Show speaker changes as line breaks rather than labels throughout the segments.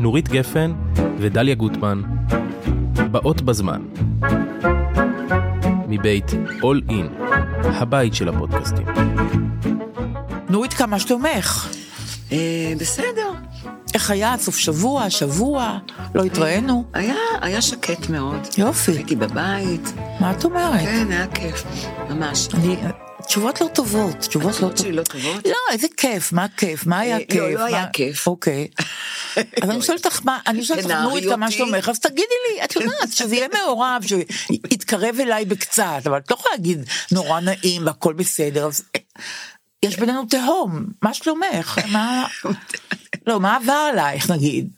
נורית גפן ודליה גוטמן. באות בזמן. מבית All In, הבית של הפודקאסטים.
נורית, כמה שתומך.
אה, בסדר,
איך היה? סוף שבוע, שבוע? לא התראינו?
היה, היה שקט מאוד.
יופי.
הייתי בבית,
מה את אומרת?
כן, היה כיף, ממש.
אני... תשובות לא טובות, תשובות לא
התשובות שלי לא טובות?
לא, איזה כיף, מה כיף, מה היה
אה, לא,
כיף?
לא היה
מה-
כיף.
אוקיי. אז אני שואלת אותך, מה, אני שואלת אותך, נורית, כמה
נעריותי.
שלומך, אז תגידי לי, את יודעת, שזה יהיה מעורב, שיתקרב אליי בקצת, אבל את לא יכולה להגיד, נורא נעים והכל בסדר, אז אה, יש בינינו תהום, מה שלומך? מה... לא, מה עבר עלייך, נגיד?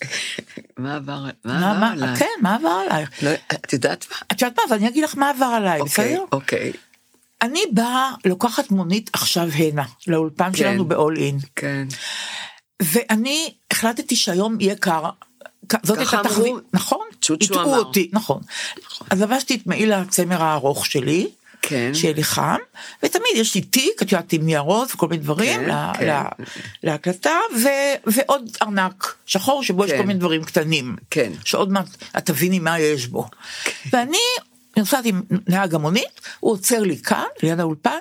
מה עבר,
מה-
מה
מה-
עבר עליי?
כן, מה עבר עלייך?
לא, את יודעת מה?
את יודעת מה, אבל אני אגיד לך מה עבר עליי,
אוקיי,
בסדר?
אוקיי,
אני באה, לוקחת מונית עכשיו הנה, לאולפן שלנו ב-all in,
כן.
ואני החלטתי שהיום יהיה קר. כ- זאת
ככה
הייתה תחביב,
אמרו.
נכון?
צ'וצ'ו
הטעו
אמר.
אותי, נכון. אז לבשתי את מעיל הצמר הארוך שלי,
כן.
שיהיה לי חם, ותמיד יש לי תיק, את יודעת, עם ניירות וכל מיני דברים,
כן,
לה-
כן.
לה- להקלטה, ו- ועוד ארנק שחור שבו יש
כן.
כל מיני דברים קטנים.
כן.
שעוד מעט את תביני מה יש בו. ואני נוסעת עם נהג המונית, הוא עוצר לי כאן, ליד האולפן,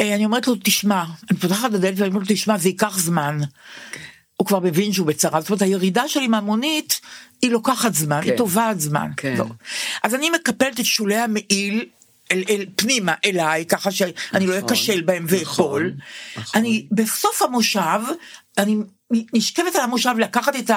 אה, אני אומרת לו, תשמע, אני פותחת את הדלת ואני אומרת לו, תשמע, זה ייקח זמן.
כן.
הוא כבר מבין שהוא בצרה, זאת אומרת הירידה שלי מהמונית היא לוקחת זמן, היא
כן.
תובעת זמן.
כן.
לא. אז אני מקפלת את שולי המעיל אל, אל פנימה אליי, ככה שאני לא
נכון,
אכשל בהם ואפול.
נכון.
אני בסוף המושב, אני נשכבת על המושב לקחת את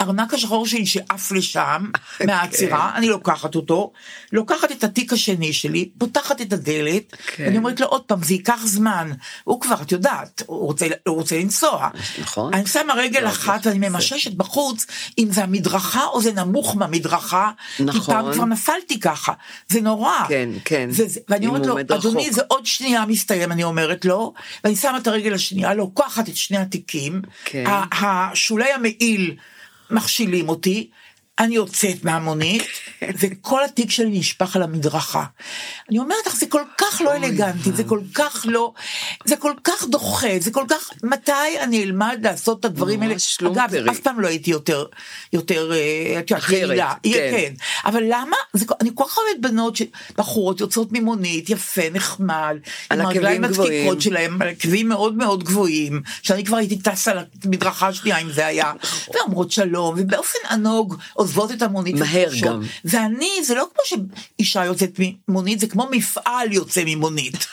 הארנק השחור שלי שעף לשם מהעצירה,
כן.
אני לוקחת אותו, לוקחת את התיק השני שלי, פותחת את הדלת,
כן.
אני אומרת לו עוד פעם, זה ייקח זמן, הוא כבר, את יודעת, הוא רוצה, הוא רוצה לנסוע.
נכון.
אני שמה רגל
לא,
אחת
זה-
ואני ממששת בחוץ, אם זה המדרכה או זה נמוך מהמדרכה, כי
נכון.
פעם כבר נפלתי ככה, זה נורא.
כן, כן.
זה, זה, ואני
אם
אומרת
הוא
לו,
עומד
אדוני,
רחוק."
זה עוד שנייה מסתיים, אני אומרת לו, ואני שמה את הרגל השנייה, לוקחת את שני התיקים,
כן.
ה- השולי המעיל מכשילים אותי, אני יוצאת מהמונית,
כן.
וכל התיק שלי נשפך על המדרכה. אני אומרת לך, זה כל כך לא אלגנטי, זה כל כך לא, זה כל כך דוחה, זה כל כך, מתי אני אלמד לעשות את הדברים האלה?
ממש לא
אגב,
פרי.
אף פעם לא הייתי יותר, יותר, אה, את יודעת,
אחרת,
יעילה.
כן.
כן. אבל למה? זה, כל- אני כל כך אוהבת בנות, ש- בחורות יוצאות ממונית, יפה, נחמד, עם
על עקבים
הרגליים
גבוהים.
הדקיקות שלהם, על עקבים מאוד מאוד גבוהים, שאני כבר הייתי טסה למדרכה השנייה אם זה היה,
נכון.
ואומרות שלום, ובאופן ענוג עוזבות את המונית.
מהר
ופורשות.
גם.
ואני, זה לא כמו שאישה יוצאת ממונית, זה כמו מפעל יוצא ממונית.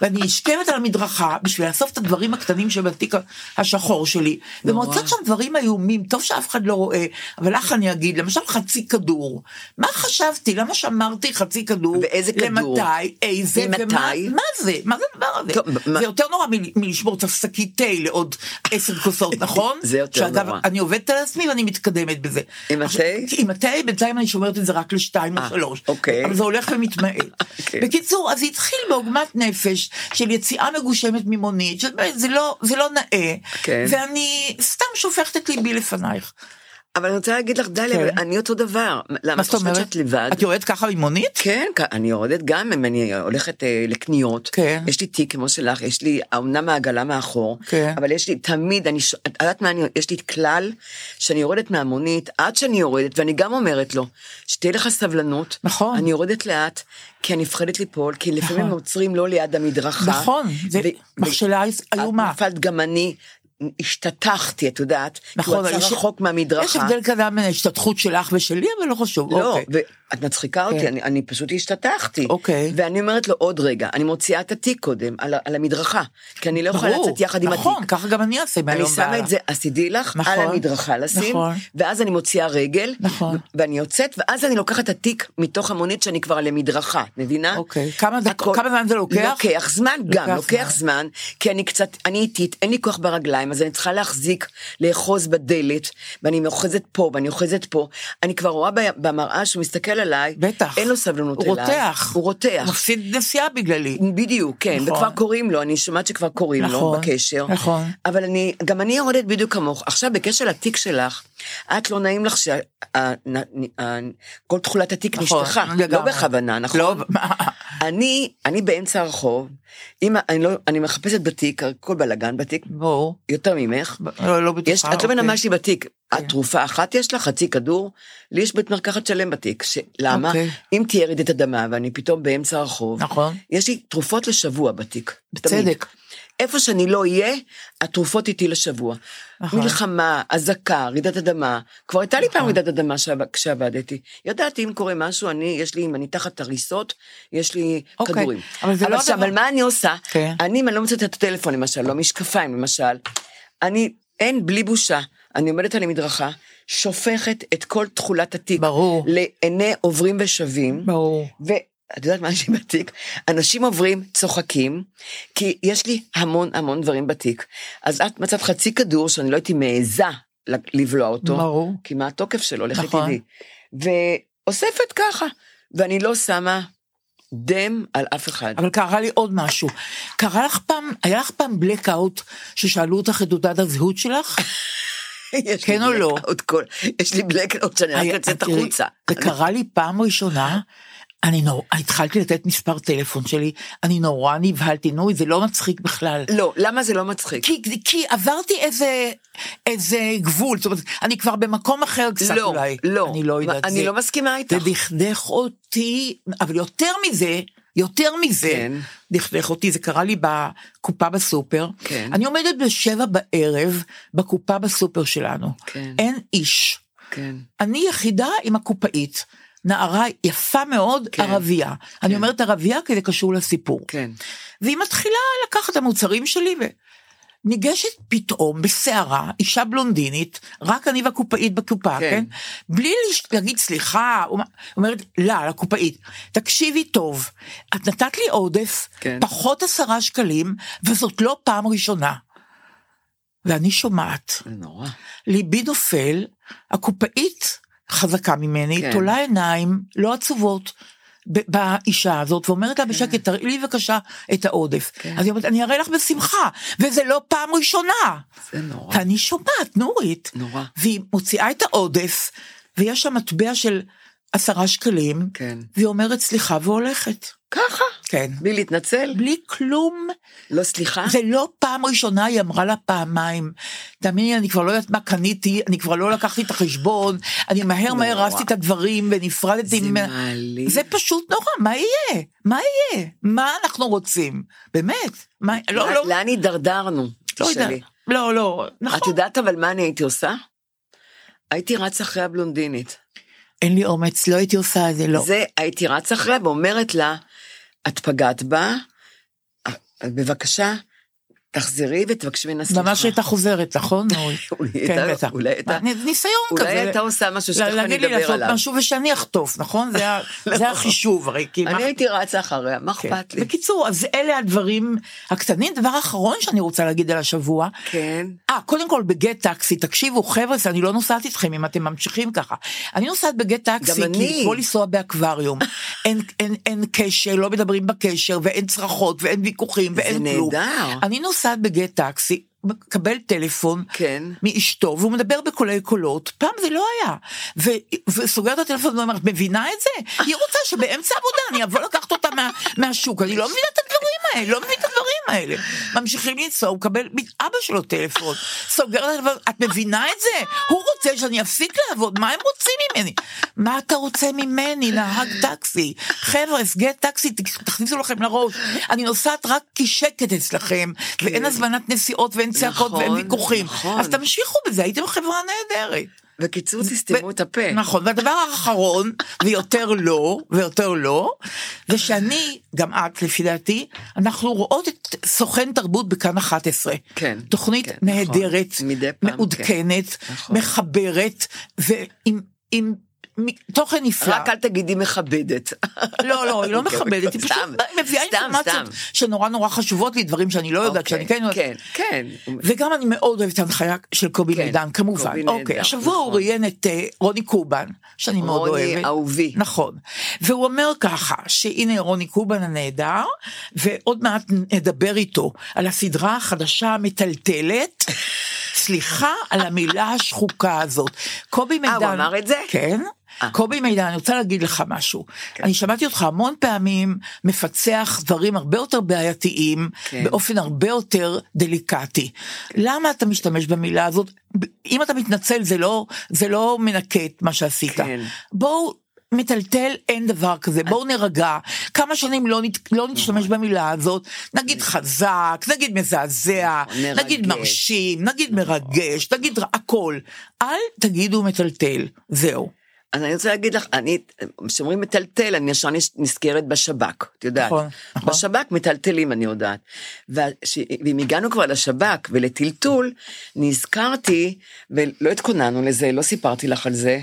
ואני נשכבת על המדרכה בשביל לאסוף את הדברים הקטנים שבתיק השחור שלי, ומוצאת שם דברים איומים, טוב שאף אחד לא רואה, אבל לך אני אגיד, למשל חצי כדור. מה חשבתי? למה שמרתי חצי כדור?
ואיזה כדור?
למתי? איזה?
ממתי?
ומה מה זה? מה זה הדבר הזה?
טוב, מה-
זה יותר נורא מ- מלשמור את השקית תה לעוד עשר כוסות, נכון?
זה יותר
שאגב,
נורא.
אני עובדת על עצמי ואני מתקדמת בזה.
עם
עכשיו,
התה?
עם התה, בינתיים אני שומרת את זה רק לשתיים או
אה,
שלוש.
אוקיי.
אבל זה הולך ומתמעט.
אוקיי.
בקיצור, אז זה התחיל בעוגמת נפש של יציאה מגושמת ממונית, שבאמת זה לא, זה לא נאה,
כן.
ואני סתם שופכת את ליבי לפנייך.
אבל אני רוצה להגיד לך, דליה,
כן.
אבל אני אותו דבר. למה
מה
את
זאת
חושבת
אומרת?
שאת לבד?
את יורדת ככה ממונית?
כן, כ- אני יורדת גם אם אני הולכת אה, לקניות.
כן.
יש לי תיק כמו שלך, יש לי אמנם העגלה מאחור,
כן.
אבל יש לי תמיד, אני, ש- את יודעת מה, אני, יש לי כלל שאני יורדת מהמונית, עד שאני יורדת, ואני גם אומרת לו, שתהיה לך סבלנות.
נכון.
אני יורדת לאט, כי אני מפחדת ליפול, כי לפעמים
נכון.
הם עוצרים לא ליד המדרכה.
נכון, זה
ו-
מכשלה
את
איומה.
נפלת גם אני. השתטחתי, את יודעת,
נכון,
כי הוא
יש-
עצר רחוק מהמדרכה.
יש הבדל קטן בין ההשתתחות שלך ושלי, אבל לא חשוב.
לא,
אוקיי.
ואת מצחיקה אותי,
כן.
אני, אני פשוט השתטחתי.
אוקיי.
ואני אומרת לו, עוד רגע, אני מוציאה את התיק קודם, על, ה- על המדרכה, כי אני לא יכולה
ברור,
לצאת יחד עם
נכון,
התיק.
ככה גם אני אעשה מהיום
אני
והלאה.
שמה את זה, אז תדעי לך,
נכון,
על המדרכה לשים,
נכון.
ואז אני מוציאה רגל,
נכון.
ו- ואני יוצאת, ואז אני לוקחת את התיק מתוך המונית שאני כבר על המדרכה, את מבינה?
אוקיי. כמה דק-
הכל-
כמה זמן זה לוקח?
לוקח זמן,
לוקח
גם לוקח זמן, כי אני קצת, אני איטית, אין לי כוח ברגליים, אז אני צריכה להחזיק, לאחוז בדלת, ואני אוחזת פה, ואני אוחזת פה. אני כבר רואה ב- במראה שהוא מסתכל עליי,
בטח.
אין לו סבלנות
הוא
אליי.
רותח.
הוא רותח.
הוא מפסיד נסיעה בגללי.
בדיוק, כן,
נכון.
וכבר קוראים לו, אני שומעת שכבר קוראים לו
נכון,
בקשר.
נכון.
אבל אני, גם אני יורדת בדיוק כמוך. עכשיו, בקשר לתיק שלך, את לא נעים לך שכל תכולת התיק
נכון,
נשטחה. לא
לגמרי.
בכוונה, נכון?
לא, מה?
אני, אני באמצע הרחוב, אמא, אני, לא, אני מחפשת בתיק, הכל בלאגן בתיק,
ברור.
יותר ממך.
לא, לא בטוחה.
יש, את לא מבינה
אוקיי.
מה יש לי בתיק. את תרופה אחת יש לך, חצי כדור, לי יש בית מרקחת שלם בתיק. ש- למה?
אוקיי.
אם תהיה רעידת אדמה ואני פתאום באמצע הרחוב,
נכון.
יש לי תרופות לשבוע בתיק. תמיד.
בצדק.
איפה שאני לא אהיה, התרופות איתי לשבוע.
נכון.
מלחמה, אזעקה, רעידת אדמה. כבר הייתה לי פעם רעידת אדמה שעב- כשעבדתי. ידעתי אם קורה משהו, אני, יש לי, אם אני תחת הריסות, יש לי
אוקיי,
כדורים.
אבל זה לא
עכשיו,
הדבר-
אבל מה אני עושה?
כן.
אני, אם אני לא מוצאת את הטלפון למשל, לא משקפיים למשל, אני, אין, בלי בושה, אני עומדת על המדרכה, שופכת את כל תכולת התיק.
ברור.
לעיני עוברים ושבים.
ברור.
ואת יודעת מה יש לי בתיק? אנשים עוברים, צוחקים, כי יש לי המון המון דברים בתיק. אז את מצאת חצי כדור שאני לא הייתי מעיזה ל- לבלוע אותו.
ברור.
כי מה התוקף שלו, לכי
נכון.
תדעי. ואוספת ככה, ואני לא שמה דם על אף אחד.
אבל קרה לי עוד משהו. קרה לך פעם, היה לך פעם blackout ששאלו אותך את תעודת הזהות שלך?
יש
כן
לי
או לא?
blackout כל- יש לי בלקאוט שאני רק
היה-
יוצאת
תראי,
החוצה.
זה קרה לי פעם ראשונה, אני נורא, התחלתי לתת מספר טלפון שלי, אני נורא נבהלתי, נוי, זה לא מצחיק בכלל.
לא, למה זה לא מצחיק?
כי, כי עברתי איזה, איזה גבול, זאת אומרת, אני כבר במקום אחר קצת
לא,
אולי.
לא.
אני לא יודעת.
אני
זה-
לא מסכימה איתך.
זה דכדך אותי, אבל יותר מזה, יותר מזה,
כן.
דכדך אותי, זה קרה לי בקופה בסופר.
כן.
אני עומדת בשבע בערב בקופה בסופר שלנו.
כן.
אין איש.
כן.
אני יחידה עם הקופאית. נערה יפה מאוד,
כן.
ערבייה. אני אומרת ערבייה כי זה קשור לסיפור.
כן.
והיא מתחילה לקחת את המוצרים שלי וניגשת פתאום בסערה אישה בלונדינית, רק אני והקופאית בקופה, כן?
כן.
כן? בלי לש- להגיד סליחה, או מה- אומרת לה, לקופאית, תקשיבי טוב, את נתת לי עודף,
כן.
פחות עשרה שקלים, וזאת לא פעם ראשונה. ואני שומעת,
זה נורא.
ליבי נופל, הקופאית חזקה ממני,
כן.
כן. תולה עיניים לא עצובות. ב- באישה הזאת ואומרת לה בשקט תראי לי בבקשה את העודף.
כן.
אז היא אומרת אני אראה לך בשמחה וזה לא פעם ראשונה.
זה נורא.
ואני שומעת נורית.
נורא.
והיא מוציאה את העודף ויש שם מטבע של עשרה שקלים.
כן.
והיא אומרת סליחה והולכת.
ככה.
כן.
בלי להתנצל?
בלי כלום
לא, סליחה?
זה לא פעם ראשונה, היא אמרה לה פעמיים. תאמיני לי, אני כבר לא יודעת מה קניתי, אני כבר לא לקחתי את החשבון, אני מהר מהר
נורא.
הרסתי את הדברים ונפרדתי
זה
ממנה.
מעליב.
זה פשוט נורא, מה יהיה? מה יהיה? מה אנחנו רוצים? באמת? מה, לא,
מה-
לא,
לאן הידרדרנו?
לא
תשאלי.
יודעת. לא, לא,
את
נכון.
יודעת אבל מה אני הייתי עושה? הייתי רץ אחרי הבלונדינית.
אין לי אומץ, לא הייתי עושה את זה, לא.
זה, הייתי רץ אחריה ואומרת לה, את פגעת בה, אה, בבקשה, תחזרי ותבקשי ממנה סליחה.
ממש הייתה חוזרת, נכון? נורית?
אולי
כן,
הייתה-
בטח.
אולי הייתה-
מה, ניסיון כזה.
אולי הייתה עושה משהו שתכף אני
להגיד לי
אדבר
לעשות
עליו. לא.
משהו ושאני אחטוף, נכון? זה ה- זה החישוב, הרי כי מה
אני הייתי רצה אחריה, מה
כן.
אכפת לי?
בקיצור, אז אלה הדברים הקטנים. דבר אחרון שאני רוצה להגיד על השבוע,
כן.
אה, קודם כל בגט טקסי, תקשיבו חבר'ה, אני לא נוסעת איתכם אם אתם ממשיכים ככה. אני נוסעת בגט טקסי,
גם אני.
כי כמו לנסוע באקווריום. אין, אין, אין קשר, לא מדברים בקשר, ואין צרחות, ואין ויכוחים, ואין כלום.
נהדר.
אני נוסעת בגט טקסי, מקבל טלפון.
כן.
מאשתו, והוא מדבר בקולי קולות, פעם זה לא היה. ו- וסוגר את הטלפון ואומר, את מבינה את זה? היא רוצה שבאמצע העבודה אני אבוא לקחת אותה מה- מהשוק, אני לא מבינה את הדברים האלה, לא מבינה את הדברים האלה. ממשיכים לנסוע, הוא מקבל מאבא שלו טלפון, סוגר את הטלפון, את מבינה את זה? הוא רוצה שאני אפסיק לעבוד, מה הם רוצים ממני? מה אתה רוצה ממני, נהג טקסי? חבר'ה, הסגי טקסי, ת- תכניסו לכם לראש. אני נוסעת רק כי שקט אצלכם, ואין הזמנת נסיעות ואין צעקות ואין
נכון,
ויכוחים.
נכון.
אז תמשיכו בזה, הייתם חברה נהדרת.
בקיצור, תסתמו את הפה.
נכון, והדבר האחרון, ויותר לא, ויותר לא, זה שאני, גם את לפי דעתי, אנחנו רואות את סוכן תרבות בכאן 11.
כן,
תוכנית
כן, נכון.
נהדרת,
מדי פעם,
מעודכנת,
כן. נכון.
מחברת, ועם עם, מ- תוכן נפלא.
רק אל תגידי מכבדת.
לא, לא, היא לא
אוקיי,
מכבדת, היא פשוט
סתם,
מביאה
סתם,
אינפורמציות
סתם.
שנורא נורא חשובות לי, דברים שאני לא יודעת, שאני כן יודעת.
כן, כן.
וגם אני מאוד אוהבת את ההנחיה של קובי
כן,
מידן, כמובן.
קובי נהדר,
אוקיי, השבוע
נכון.
הוא ראיין את אה, רוני קובן, שאני מאוד אוהבת.
רוני אהובי.
נכון. והוא אומר ככה, שהנה רוני קובן הנהדר, ועוד מעט נדבר איתו על הסדרה החדשה המטלטלת. סליחה על המילה השחוקה הזאת. קובי מידן...
אה, הוא אמר את זה?
כן.
אה.
קובי מידן, אני רוצה להגיד לך משהו.
כן.
אני שמעתי אותך המון פעמים מפצח דברים הרבה יותר בעייתיים,
כן.
באופן הרבה יותר דליקטי. למה אתה משתמש במילה הזאת? אם אתה מתנצל זה לא, זה לא מנקה את מה שעשית.
כן. אה.
בואו מטלטל אין דבר כזה בואו נרגע כמה שנים לא, נת, לא נשתמש
נכון.
במילה הזאת
אה.
נגיד חזק נגיד מזעזע
מרגש.
נגיד מרשים נגיד מרגש נגיד ר- הכל אל תגידו מטלטל זהו.
אז אני רוצה להגיד לך, אני, כשאומרים מטלטל, אני ישר נש- נזכרת בשב"כ, את יודעת.
נכון, נכון.
בשב"כ מטלטלים, אני יודעת. וש- ואם הגענו כבר לשב"כ ולטלטול, נזכרתי, ולא התכוננו לזה, לא סיפרתי לך על זה,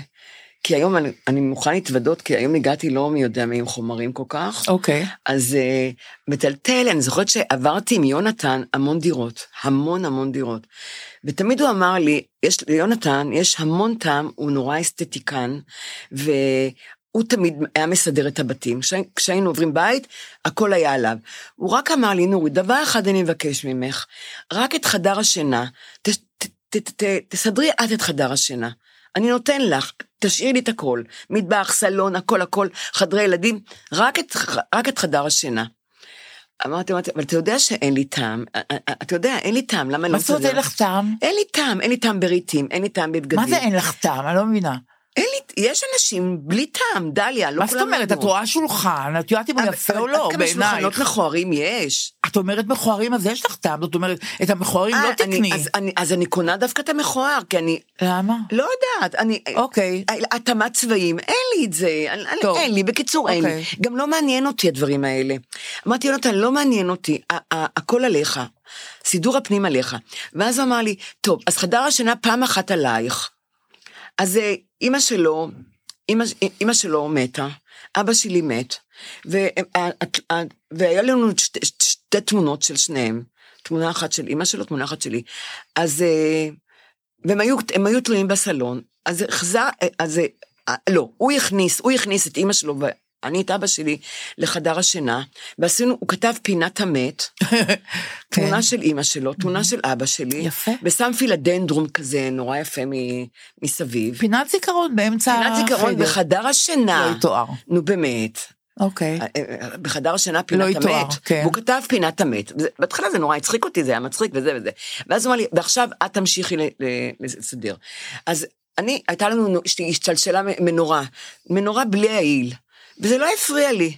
כי היום אני, אני מוכן להתוודות, כי היום הגעתי לא מי יודע מי עם חומרים כל כך.
אוקיי.
אז אה, מטלטל, אני זוכרת שעברתי עם יונתן המון דירות, המון המון דירות. ותמיד הוא אמר לי, יש, ליונתן יש המון טעם, הוא נורא אסתטיקן, והוא תמיד היה מסדר את הבתים. כשה- כשהיינו עוברים בית, הכל היה עליו. הוא רק אמר לי, נורית, דבר אחד אני מבקש ממך, רק את חדר השינה, ת, ת, ת, ת, תסדרי את את חדר השינה. אני נותן לך, תשאירי לי את הכל, מטבח, סלון, הכל הכל, חדרי ילדים, רק את, רק את חדר השינה. אמרתי, אמרתי, אבל אתה יודע שאין לי טעם, אה, אה, אה, אתה יודע, אין לי טעם, למה אני
מה
לא
זאת אומרת אין לך טעם?
אין לי טעם, אין לי טעם ברהיטים, אין לי טעם בבגדים.
מה זה אין לך טעם? אני לא מבינה.
אין לי, יש אנשים בלי טעם, דליה, לא
מה זאת
כולם
אומרת?
כמו.
את רואה שולחן, את יודעת אם הוא
אבל-
יפה או
אבל
לא
עד אה, כמה שולחנות
בעינייך.
מכוערים יש.
את אומרת מכוערים אז יש לך טעם, זאת אומרת את המכוערים
אה,
לא
אני-
תקני.
אז אני- אז אני קונה דווקא את המכוער, כי אני
למה?
לא יודעת, אני...
אוקיי.
התאמת צבעים, אין לי את זה, אני- אני-
טוב.
אין לי, בקיצור אין לי.
אוקיי.
גם לא מעניין אותי הדברים האלה. אמרתי, יונתן, לא מעניין אותי, ה- ה- הכל עליך, סידור הפנים עליך. ואז הוא אמר לי, טוב, אז חדר השינה פעם אחת עלייך. אז אה, אימא שלו, אימא, אימא שלו מתה, אבא שלי מת, אה, וה, ה- ה- ה- והיה לנו שתי, שתי תמונות של שניהם, תמונה אחת של אימא שלו, תמונה אחת שלי. אז, אה, והם היו, הם היו תלויים בסלון, אז החזר, אה, אז, אה, אה, לא, הוא הכניס, הוא הכניס את אימא שלו, ואני את אבא שלי, לחדר השינה, ועשינו, הוא כתב פינת המת, תמונה של אימא שלו, תמונה של אבא שלי,
כן. יפה.
ושם פילדנדרום כזה נורא יפה מ- מסביב.
פינת זיכרון באמצע
פינת זיכרון
החדר.
בחדר השינה.
אה, לא יתואר.
נו באמת.
אוקיי.
אה, בחדר השינה פינת
לא יתואר,
המת,
כן.
והוא כתב פינת המת. וזה- בהתחלה זה נורא הצחיק אותי, זה היה מצחיק וזה וזה. ואז הוא אמר לי, ועכשיו את תמשיכי ל- ל- לסדר. אז אני, הייתה לנו, נו- אשתי השתלשלה מ- מנורה, מנורה בלי העיל, וזה לא הפריע לי.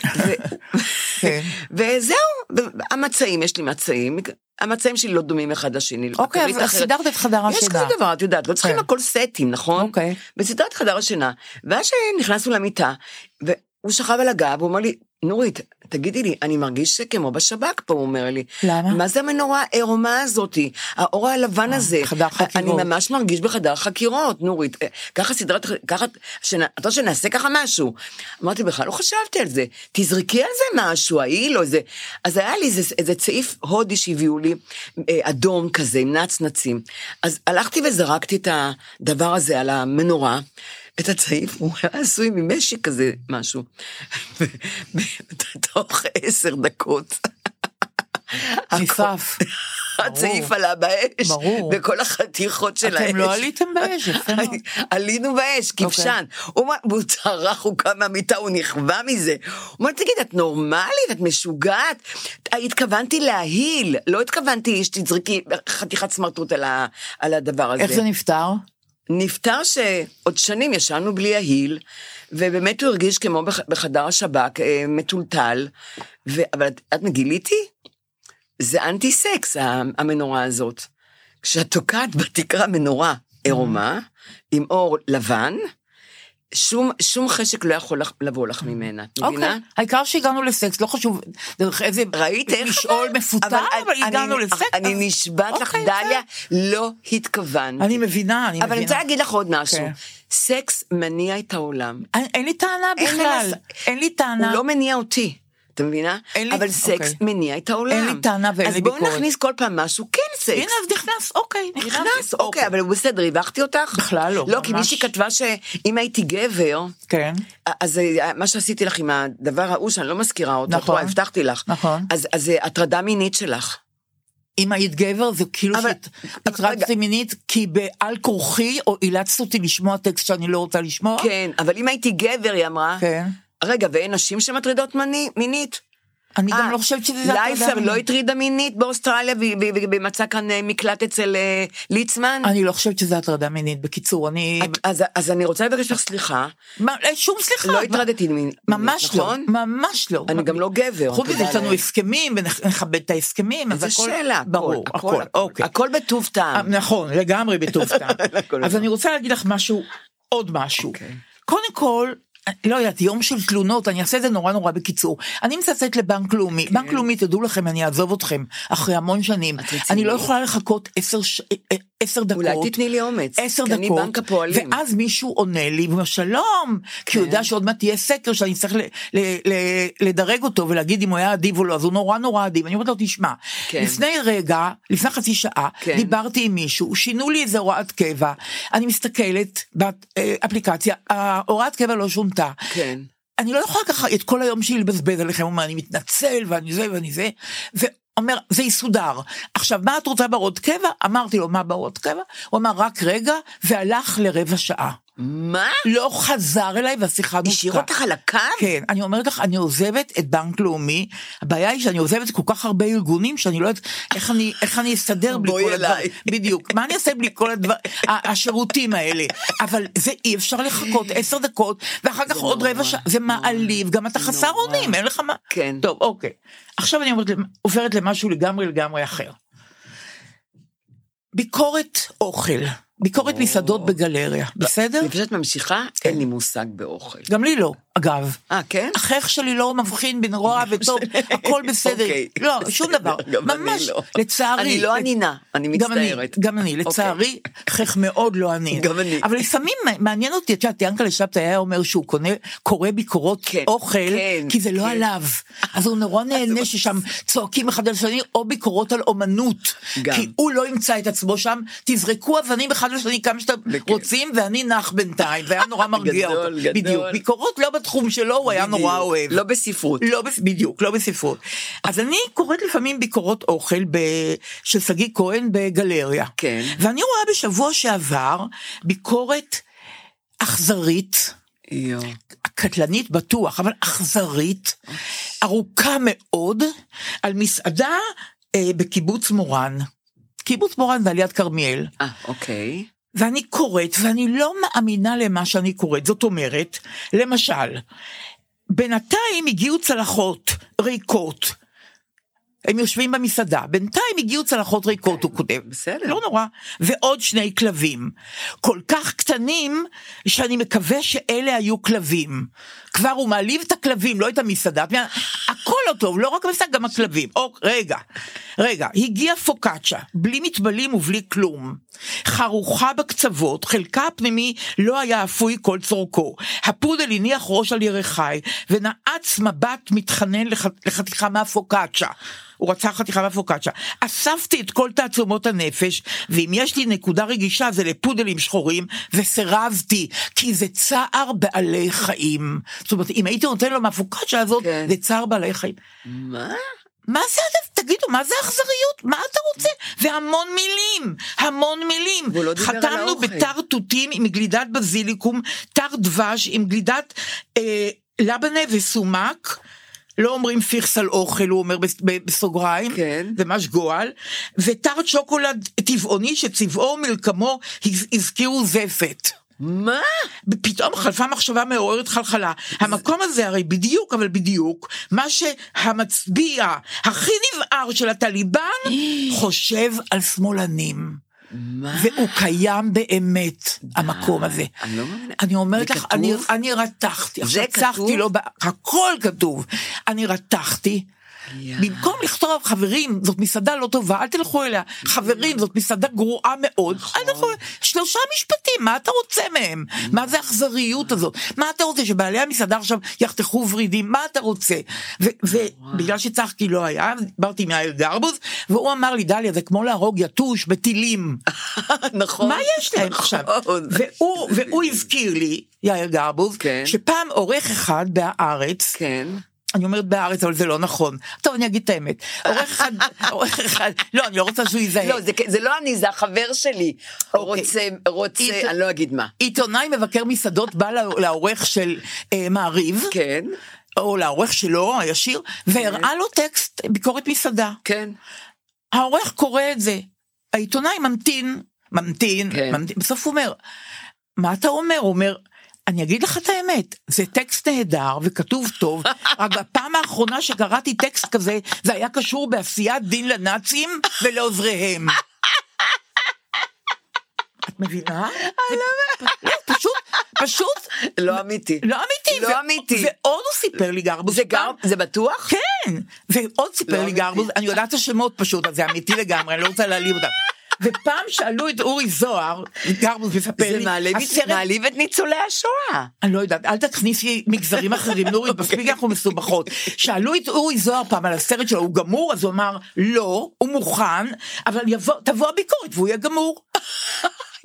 ו-
כן.
אה, וזהו, ו- המצעים, יש לי מצעים, המצעים שלי לא דומים אחד לשני.
אוקיי,
הכרית
אז- אז
אחרת.
סידרת את חדר
יש
השינה.
כזה דבר, את יודעת, לא צריכים
כן.
הכל סטים, נכון?
אוקיי.
וסידרת חדר השינה. ואז שנכנסנו למיטה, והוא שכב על הגב, הוא אומר לי, נורית, תגידי לי, אני מרגיש כמו בשב"כ פה, הוא אומר לי.
למה?
מה זה המנורה העירומה הזאתי? האור הלבן הזה.
חדר חקירות.
אה, אני ממש מרגיש בחדר חקירות, נורית. אה, ככה סדרת, ככה, שנ- את רוצה שנעשה ככה משהו. אמרתי, בכלל לא חשבתי על זה. תזרקי על זה משהו, העיל או זה. אז היה לי איזה, איזה צעיף הודי שהביאו לי, אה, אדום כזה, עם נצנצים. אז הלכתי וזרקתי את הדבר הזה על המנורה. את הצעיף, הוא היה עשוי ממשק כזה, משהו. ותוך עשר דקות.
נשרף.
הצעיף עלה באש,
ברור.
בכל החתיכות של האש.
אתם לא עליתם באש, יפה מאוד. אוקיי.
עלינו באש, כבשן. הוא אמר- והוא צרח, הוא קם מהמיטה, הוא נכווה מזה. הוא אמר, תגיד, את נורמלית? את משוגעת? התכוונתי להעיל, לא התכוונתי שתזרקי חתיכת סמרטוט על ה- על הדבר הזה.
איך זה נפתר?
נפטר שעוד שנים ישנו בלי ההיל, ובאמת הוא הרגיש כמו בח, בחדר השב"כ, אה, מטולטל, ו, אבל את, את גיליתי? זה אנטי סקס, ה- המנורה הזאת. כשאת תוקעת בתקרה מנורה עירומה, עם אור לבן, שום, שום חשק לא יכול לך, לבוא לך ממנה, את מבינה?
אוקיי. העיקר שהגענו לסקס, לא חשוב דרך איזה...
ראית איך
משעול
אבל-
מפותח, אבל
אני-
הגענו לסקס.
אני
אז-
נשבעת לך,
אוקיי,
דליה, לא התכוונתי.
בסדר. אני מבינה, אני
אבל אני
מבינה.
רוצה להגיד לך עוד משהו.
כן.
סקס מניע את העולם.
אין- אין לי טענה
אין
בכלל.
לנס-
אין לי
הוא
טענה.
לא מניע אותי. אתה מבינה?
אין לי-
אבל סקס
אוקיי.
מניע את העולם.
אין לי טענה ואין לי
אז בואו
ביקורת.
נכניס כל פעם משהו, כן
הנה,
סקס.
אז נכנס, אוקיי.
נכנס, אוקיי, אבל הוא בסדר, הבכתי אותך?
בכלל לא,
לא, כי
ממש.
מישהי כתבה שאם הייתי גבר,
כן.
אז אה, מה שעשיתי לך עם הדבר ההוא שאני לא מזכירה אותו,
נכון.
נכון, הבטחתי לך.
נכון.
אז אז זה הטרדה מינית שלך.
אם היית גבר זה כאילו
אבל-
שהתרצתי מינית כי בעל כורחי או אילצת אותי לשמוע טקסט שאני לא רוצה לשמוע.
כן, אבל אם הייתי גבר, היא אמרה,
כן.
רגע, ואין נשים שמטרידות מני- מינית?
אני
אה,
גם לא חושבת שזה... הטרדה
לייפר
מינית.
לא הטרידה מינית באוסטרליה והיא- והיא והיא מצאה כאן אה, מקלט אצל אה, ליצמן?
אני לא חושבת שזה הטרדה מינית, בקיצור, אני...
את- אז- אז אני רוצה לבקש לך סליחה,
מה, אה, שום סליחה.
לא
את-
הטרדתי מינית,
ממש לא,
נכון?
ממש לא.
אני גם לא גבר.
חוץ מזה
תודה
יש לנו
לאל.
הסכמים ונכבד את ההסכמים, אז
איזה
הכל...
שאלה, הכל,
ברור, הכל, אוקיי.
הכל בטוב
אה,
טעם.
נכון, לגמרי בטוב טעם.
הכל
אז
נכון.
אני רוצה להגיד לך משהו, עוד משהו.
אוקיי.
קודם כל, לא יודעת, יום של תלונות, אני אעשה את זה נורא נורא בקיצור. אני מצטט לבנק לאומי, בנק לאומי, תדעו לכם, אני אעזוב אתכם, אחרי המון שנים.
כן. את רצינית?
אני לא יכולה לחכות עשר ש- אה, אה, עשר דקות.
אולי תתני לי אומץ,
עשר
כי
דקות,
אני בנק הפועלים. כן.
ואז מישהו עונה לי ואומר שלום, כי הוא יודע שעוד מעט תהיה סקר שאני צריך ל- ל- ל- לדרג אותו ולהגיד אם הוא היה אדיב או לא, אז הוא נורא נורא אדיב, אני אומרת לו תשמע,
כן.
לפני רגע, לפני חצי שעה,
כן.
דיברתי עם מישהו, שינו לי איזה הוראת קבע, אני מסתכלת באפליקציה, ההוראת קבע לא שונתה,
כן.
אני לא יכולה ככה את כל היום שלי לבזבז עליכם, הוא אומר, אני מתנצל ואני זה ואני זה, ואומר, זה יסודר. עכשיו, מה את רוצה בהוראות קבע? אמרתי לו, מה בהוראות קבע? הוא אמר, רק רגע, והלך לרבע שעה.
מה?
לא חזר אליי והשיחה נותקה.
השאיר אותך על הקו?
כן, אני אומרת לך, אני עוזבת את בנק לאומי, הבעיה היא שאני עוזבת כל כך הרבה ארגונים, שאני לא יודעת איך אני, איך אני אסתדר בלי
בואי
כל הדבר.
אליי.
בדיוק, מה אני אעשה בלי כל הדבר, ה- השירותים האלה. אבל זה אי אפשר לחכות עשר דקות, ואחר כך עוד
נורא,
רבע שעה, זה
נורא.
מעליב, גם אתה
זה
חסר
נורא.
אונים, אין לך מה.
כן.
טוב, אוקיי. עכשיו אני עוברת, למ- עוברת למשהו לגמרי לגמרי אחר. ביקורת אוכל, ביקורת מסעדות בגלריה, בסדר?
לפני שאת ממשיכה,
כן.
אין לי מושג באוכל.
גם לי לא, אגב.
אה, כן?
החייך שלי לא מבחין בין רוע וטוב, הכל בסדר.
אוקיי.
לא, שום דבר.
גם אני
ממש,
לא.
לצערי.
אני לא ענינה, אני
גם אני,
מצטערת. אוקיי.
גם אני, לצערי, חייך מאוד לא ענין.
גם אני.
אבל לפעמים מעניין אותי, את יודעת, ינקלה שבתאי היה אומר שהוא קונה, קורא ביקורות
כן,
אוכל,
כן,
כי זה לא
כן.
עליו. אז הוא נורא נהנה ששם צועקים אחד על השני, או ביקורות על אומנות.
גם.
כי הוא לא ימצא את עצמו שם, תזרקו אבנים אחד לשני כמה שאתם
וכן.
רוצים, ואני נח בינתיים, והיה נורא מרגיע
גדול,
אותו.
גדול.
בדיוק, ביקורות לא בתחום שלו, הוא היה
בדיוק.
נורא אוהב.
לא בספרות.
לא, בס- בדיוק, לא בספרות. אז אני קוראת לפעמים ביקורות אוכל ב... של שגיא כהן בגלריה.
כן.
ואני רואה בשבוע שעבר ביקורת אכזרית,
יואו.
קטלנית בטוח, אבל אכזרית, ארוכה מאוד, על מסעדה אה, בקיבוץ מורן. קיבוץ מורן זה על יד כרמיאל.
אה, אוקיי.
ואני קוראת, ואני לא מאמינה למה שאני קוראת. זאת אומרת, למשל, בינתיים הגיעו צלחות ריקות. הם יושבים במסעדה, בינתיים הגיעו צלחות ריקות, הוא כותב.
בסדר.
לא נורא. ועוד שני כלבים. כל כך קטנים, שאני מקווה שאלה היו כלבים. כבר הוא מעליב את הכלבים, לא את המסעדה. את מבינה? הכל לא טוב, לא רק המסעדה, גם הכלבים. או, רגע, רגע, הגיע פוקאצ'ה, בלי מתבלים ובלי כלום. חרוכה בקצוות, חלקה הפנימי לא היה אפוי כל צורכו. הפודל הניח ראש על ירכי, ונעץ מבט מתחנן לח... לחתיכה מהפוקאצ'ה. הוא רצה חתיכה מהפוקאצ'ה. אספתי את כל תעצומות הנפש, ואם יש לי נקודה רגישה זה לפודלים שחורים, וסירבתי, כי זה צער בעלי חיים. זאת אומרת, אם הייתי נותן לו מהפוקאצ'ה הזאת,
כן.
זה צער בעלי חיים.
מה?
מה זה הדף? תגידו, מה זה אכזריות? מה אתה רוצה? והמון מילים, המון מילים.
והוא לא דיבר על
חתמנו
האוכל.
בתר תותים עם גלידת בזיליקום, תר דבש עם גלידת אה, לבנה וסומק. לא אומרים פיכס על אוכל, הוא אומר בס- ב- בסוגריים,
כן.
ממש גועל, וטר שוקולד טבעוני שצבעו ומלקמו הז- הזכירו זפת.
מה?
פתאום חלפה מחשבה מעוררת חלחלה. המקום הזה הרי בדיוק, אבל בדיוק, מה שהמצביע הכי נבער של הטליבן חושב על שמאלנים.
מה?
והוא קיים באמת, המקום הזה.
אני לא מאמינה.
אני אומרת
זה
לך,
כתוב? אה,
אני, אני רתחתי,
זה
עכשיו
כתוב?
צחתי לו, ב- הכל כתוב, אני רתחתי.
יא.
במקום לכתוב חברים זאת מסעדה לא טובה אל תלכו אליה חברים זאת מסעדה גרועה מאוד
נכון.
אל תלכו אליה." שלושה משפטים מה אתה רוצה מהם מה זה האכזריות הזאת מה אתה רוצה שבעלי המסעדה עכשיו יחתכו ורידים מה אתה רוצה
נכון.
ובגלל שצחקי לא היה אז דיברתי עם יאיר גרבוז והוא אמר לי דליה זה כמו להרוג יתוש בטילים
נכון.
מה יש להם עכשיו?
נכון.
והוא- והוא הזכיר לי, יאיר גרבוז,
כן.
שפעם עורך אחד בהארץ
כן.
אני אומרת בארץ, אבל זה לא נכון. טוב, אני אגיד את האמת. עורך אחד, עורך אחד, לא, אני לא רוצה שהוא יזהה.
לא, זה, זה לא אני, זה החבר שלי.
אוקיי.
רוצה, רוצה,
אית-
אני לא אגיד מה.
עיתונאי מבקר מסעדות בא לא- לעורך של אה, מעריב,
כן,
או לעורך שלו, הישיר, והראה לו טקסט ביקורת מסעדה.
כן.
העורך קורא את זה. העיתונאי ממתין, ממתין,
כן.
ממתין, בסוף הוא אומר, מה אתה אומר? הוא אומר, אני אגיד לך את האמת, זה טקסט נהדר וכתוב טוב, רק בפעם האחרונה שקראתי טקסט כזה, זה היה קשור בעשיית דין לנאצים ולעוזריהם. את מבינה? זה פ- לא, פשוט, פשוט,
לא אמיתי.
לא אמיתי.
לא
ו-
אמיתי.
ועוד הוא סיפר לי גרבוס.
זה
פעם-
גם, זה בטוח?
כן, ועוד
לא
סיפר לי
אמיתי.
גרבוז, אני יודעת את השמות פשוט, אז זה אמיתי לגמרי, אני לא רוצה להעליב אותם. ופעם שאלו את אורי זוהר, גרבוז מספר
זה
לי,
מעליב-
כן, הסרט-
מעליב את ניצולי השואה.
אני לא יודעת, אל תכניסי מגזרים אחרים, נורית,
אוקיי.
מספיק אנחנו מסובכות. שאלו את אורי זוהר פעם על הסרט שלו, הוא גמור? אז הוא אמר, לא, הוא מוכן, אבל יבוא- תבוא הביקורת והוא יהיה גמור.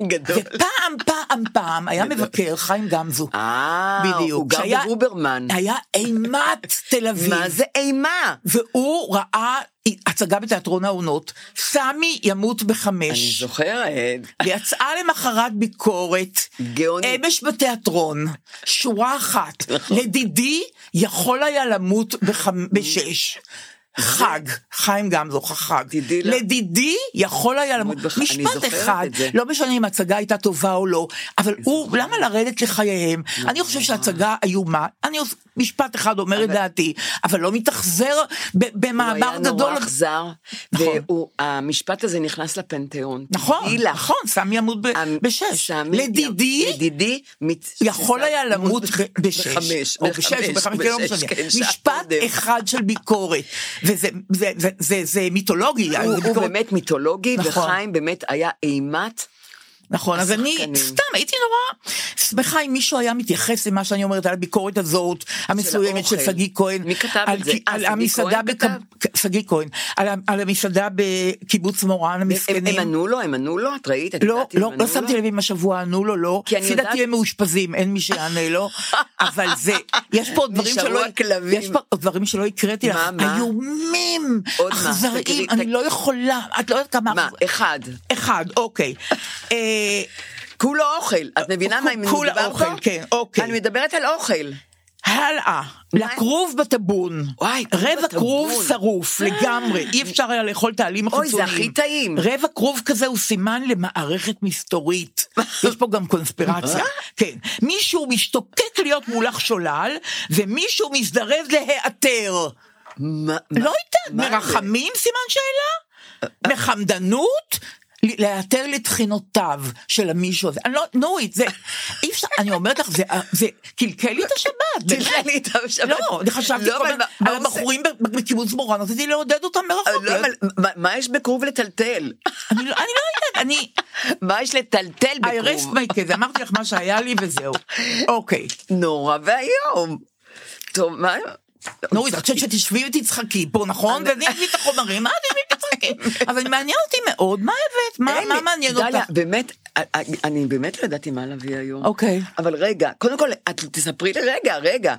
גדול.
ופעם, פעם, פעם, היה מבקר, חיים גמזו.
אה,
בדיוק.
הוא גר
שהיה-
ברוברמן.
היה אימת תל אביב.
מה זה אימה?
והוא ראה הצגה בתיאטרון העונות, סמי ימות
אני
בחמש,
זוכרת.
ויצאה למחרת ביקורת,
גאונית. נכון.
אמש בתיאטרון, שורה אחת, לדידי יכול היה למות בחמ- בשש. חג, חיים גמזו, חג.
דידי לא-
לדידי יכול היה למות,
בח- אני
משפט
זוכרת
אחד,
את זה.
לא משנה אם ההצגה הייתה טובה או לא, אבל הוא, למה לרדת לחייהם?
נכון.
אני חושב שההצגה איומה, אני עוש- משפט אחד אומר את דעתי, אבל לא מתאכזר ב- במאמר
הוא היה
גדול.
נורא אכזר,
נכון.
והמשפט הזה נכנס לפנתיאון.
נכון,
תדעי לך,
נכון, סמי ימות ב-
המ-
בשש.
אמ, סמי-
לדידי,
לדידי, מת-
יכול היה
מת-
למות ב- בשש,
בחמש,
או
בחמש,
בשש, או בחמש, כן, לא
בשש,
משנה.
כן, שעה
משפט
קודם.
אחד של ביקורת, וזה זה- זה- זה- זה מיתולוגי,
הוא-
זה
הוא
ביקורת-
באמת מיתולוגי,
נכון.
וחיים באמת היה אימת.
נכון, אז אני
השחקנים.
סתם הייתי נורא שמחה אם מישהו היה מתייחס למה שאני אומרת על הביקורת הזאת, המסוימת של
האוכל.
שגיא כהן.
מי כתב
על
את זה?
כי-
אה,
על
שגיא
המסעדה,
כהן
בכ- שגיא כהן, על ה- על המסעדה בקיבוץ מורן,
הם הם
המסכנים.
ענו לו, הם ענו לו, את ראית? את
לא,
יודעת אם
לא,
ענו
לא
לו?
שמתי לב אם השבוע ענו לו, לא.
כי אני
לפי
יודעת-
דעתי הם מאושפזים, אין מי שיענה לו. אבל זה, יש פה עוד דברים
נשארו
שלא...
הכלבים.
יש פה עוד דברים שלא הקראתי לך.
מה, מה?
איומים,
עוד מה? תגידי,
אכזריים, אני
תג-
לא יכולה, את לא יודעת כמה...
מה,
אכזר-
אחד.
אחד, אוקיי. אה,
כולו אוכל, את מבינה מה אם מדובר פה?
כולה אה, אוכל, כן, אוקיי.
אני מדברת על אוכל.
הלאה, לכרוב בטבון.
וואי, כרוב
רבע
בטבון. אה.
כרוב שרוף לגמרי, אי אפשר היה לאכול את העלים
אוי,
החיצוניים.
זה הכי טעים.
רבע כרוב כזה הוא סימן למערכת מסתורית. יש פה גם
אה?
קונספירציה. כן. מישהו משתוקק להיות מולך שולל, ומישהו מזדרז להיעתר.
מה- מה-
לא יודעת,
מה זה? אה,
מרחמים סימן שאלה? מחמדנות? ל- להיעתר לתחינותיו של המישהו הזה. אני לא, נורית, זה, אי אפשר, אני אומרת לך, זה, זה קלקל לי את השבת. באמת.
תלכי לי איתם שם.
לא, אני חשבתי
לא,
כל
אבל
הזמן
מה- מה
על
הוא עושה?
הבחורים ב- בקיבוץ מורן, רציתי לעודד אותם
אה,
מרחוק.
לא, אבל מה- מה יש בכרוב לטלטל?
אני לא אני לא יודעת, אני...
מה יש לטלטל
I rest
בכרוב?
my case, אמרתי לך מה שהיה לי וזהו. אוקיי.
נורא ואיום. טוב, מה? אוקיי.
נורית, את חושבת שתשבי ותצחקי פה, נכון? ואני אביא את החומרים, את תשבי ותצחקי. אבל מעניין אותי מאוד, מה הבאת?
אין
מה-
לי.
מה מעניין
דליה,
אותך?
באמת, א- א- אני באמת לא ידעתי מה להביא היום.
אוקיי.
אבל רגע, קודם כל, את תספרי לי, רגע, רגע,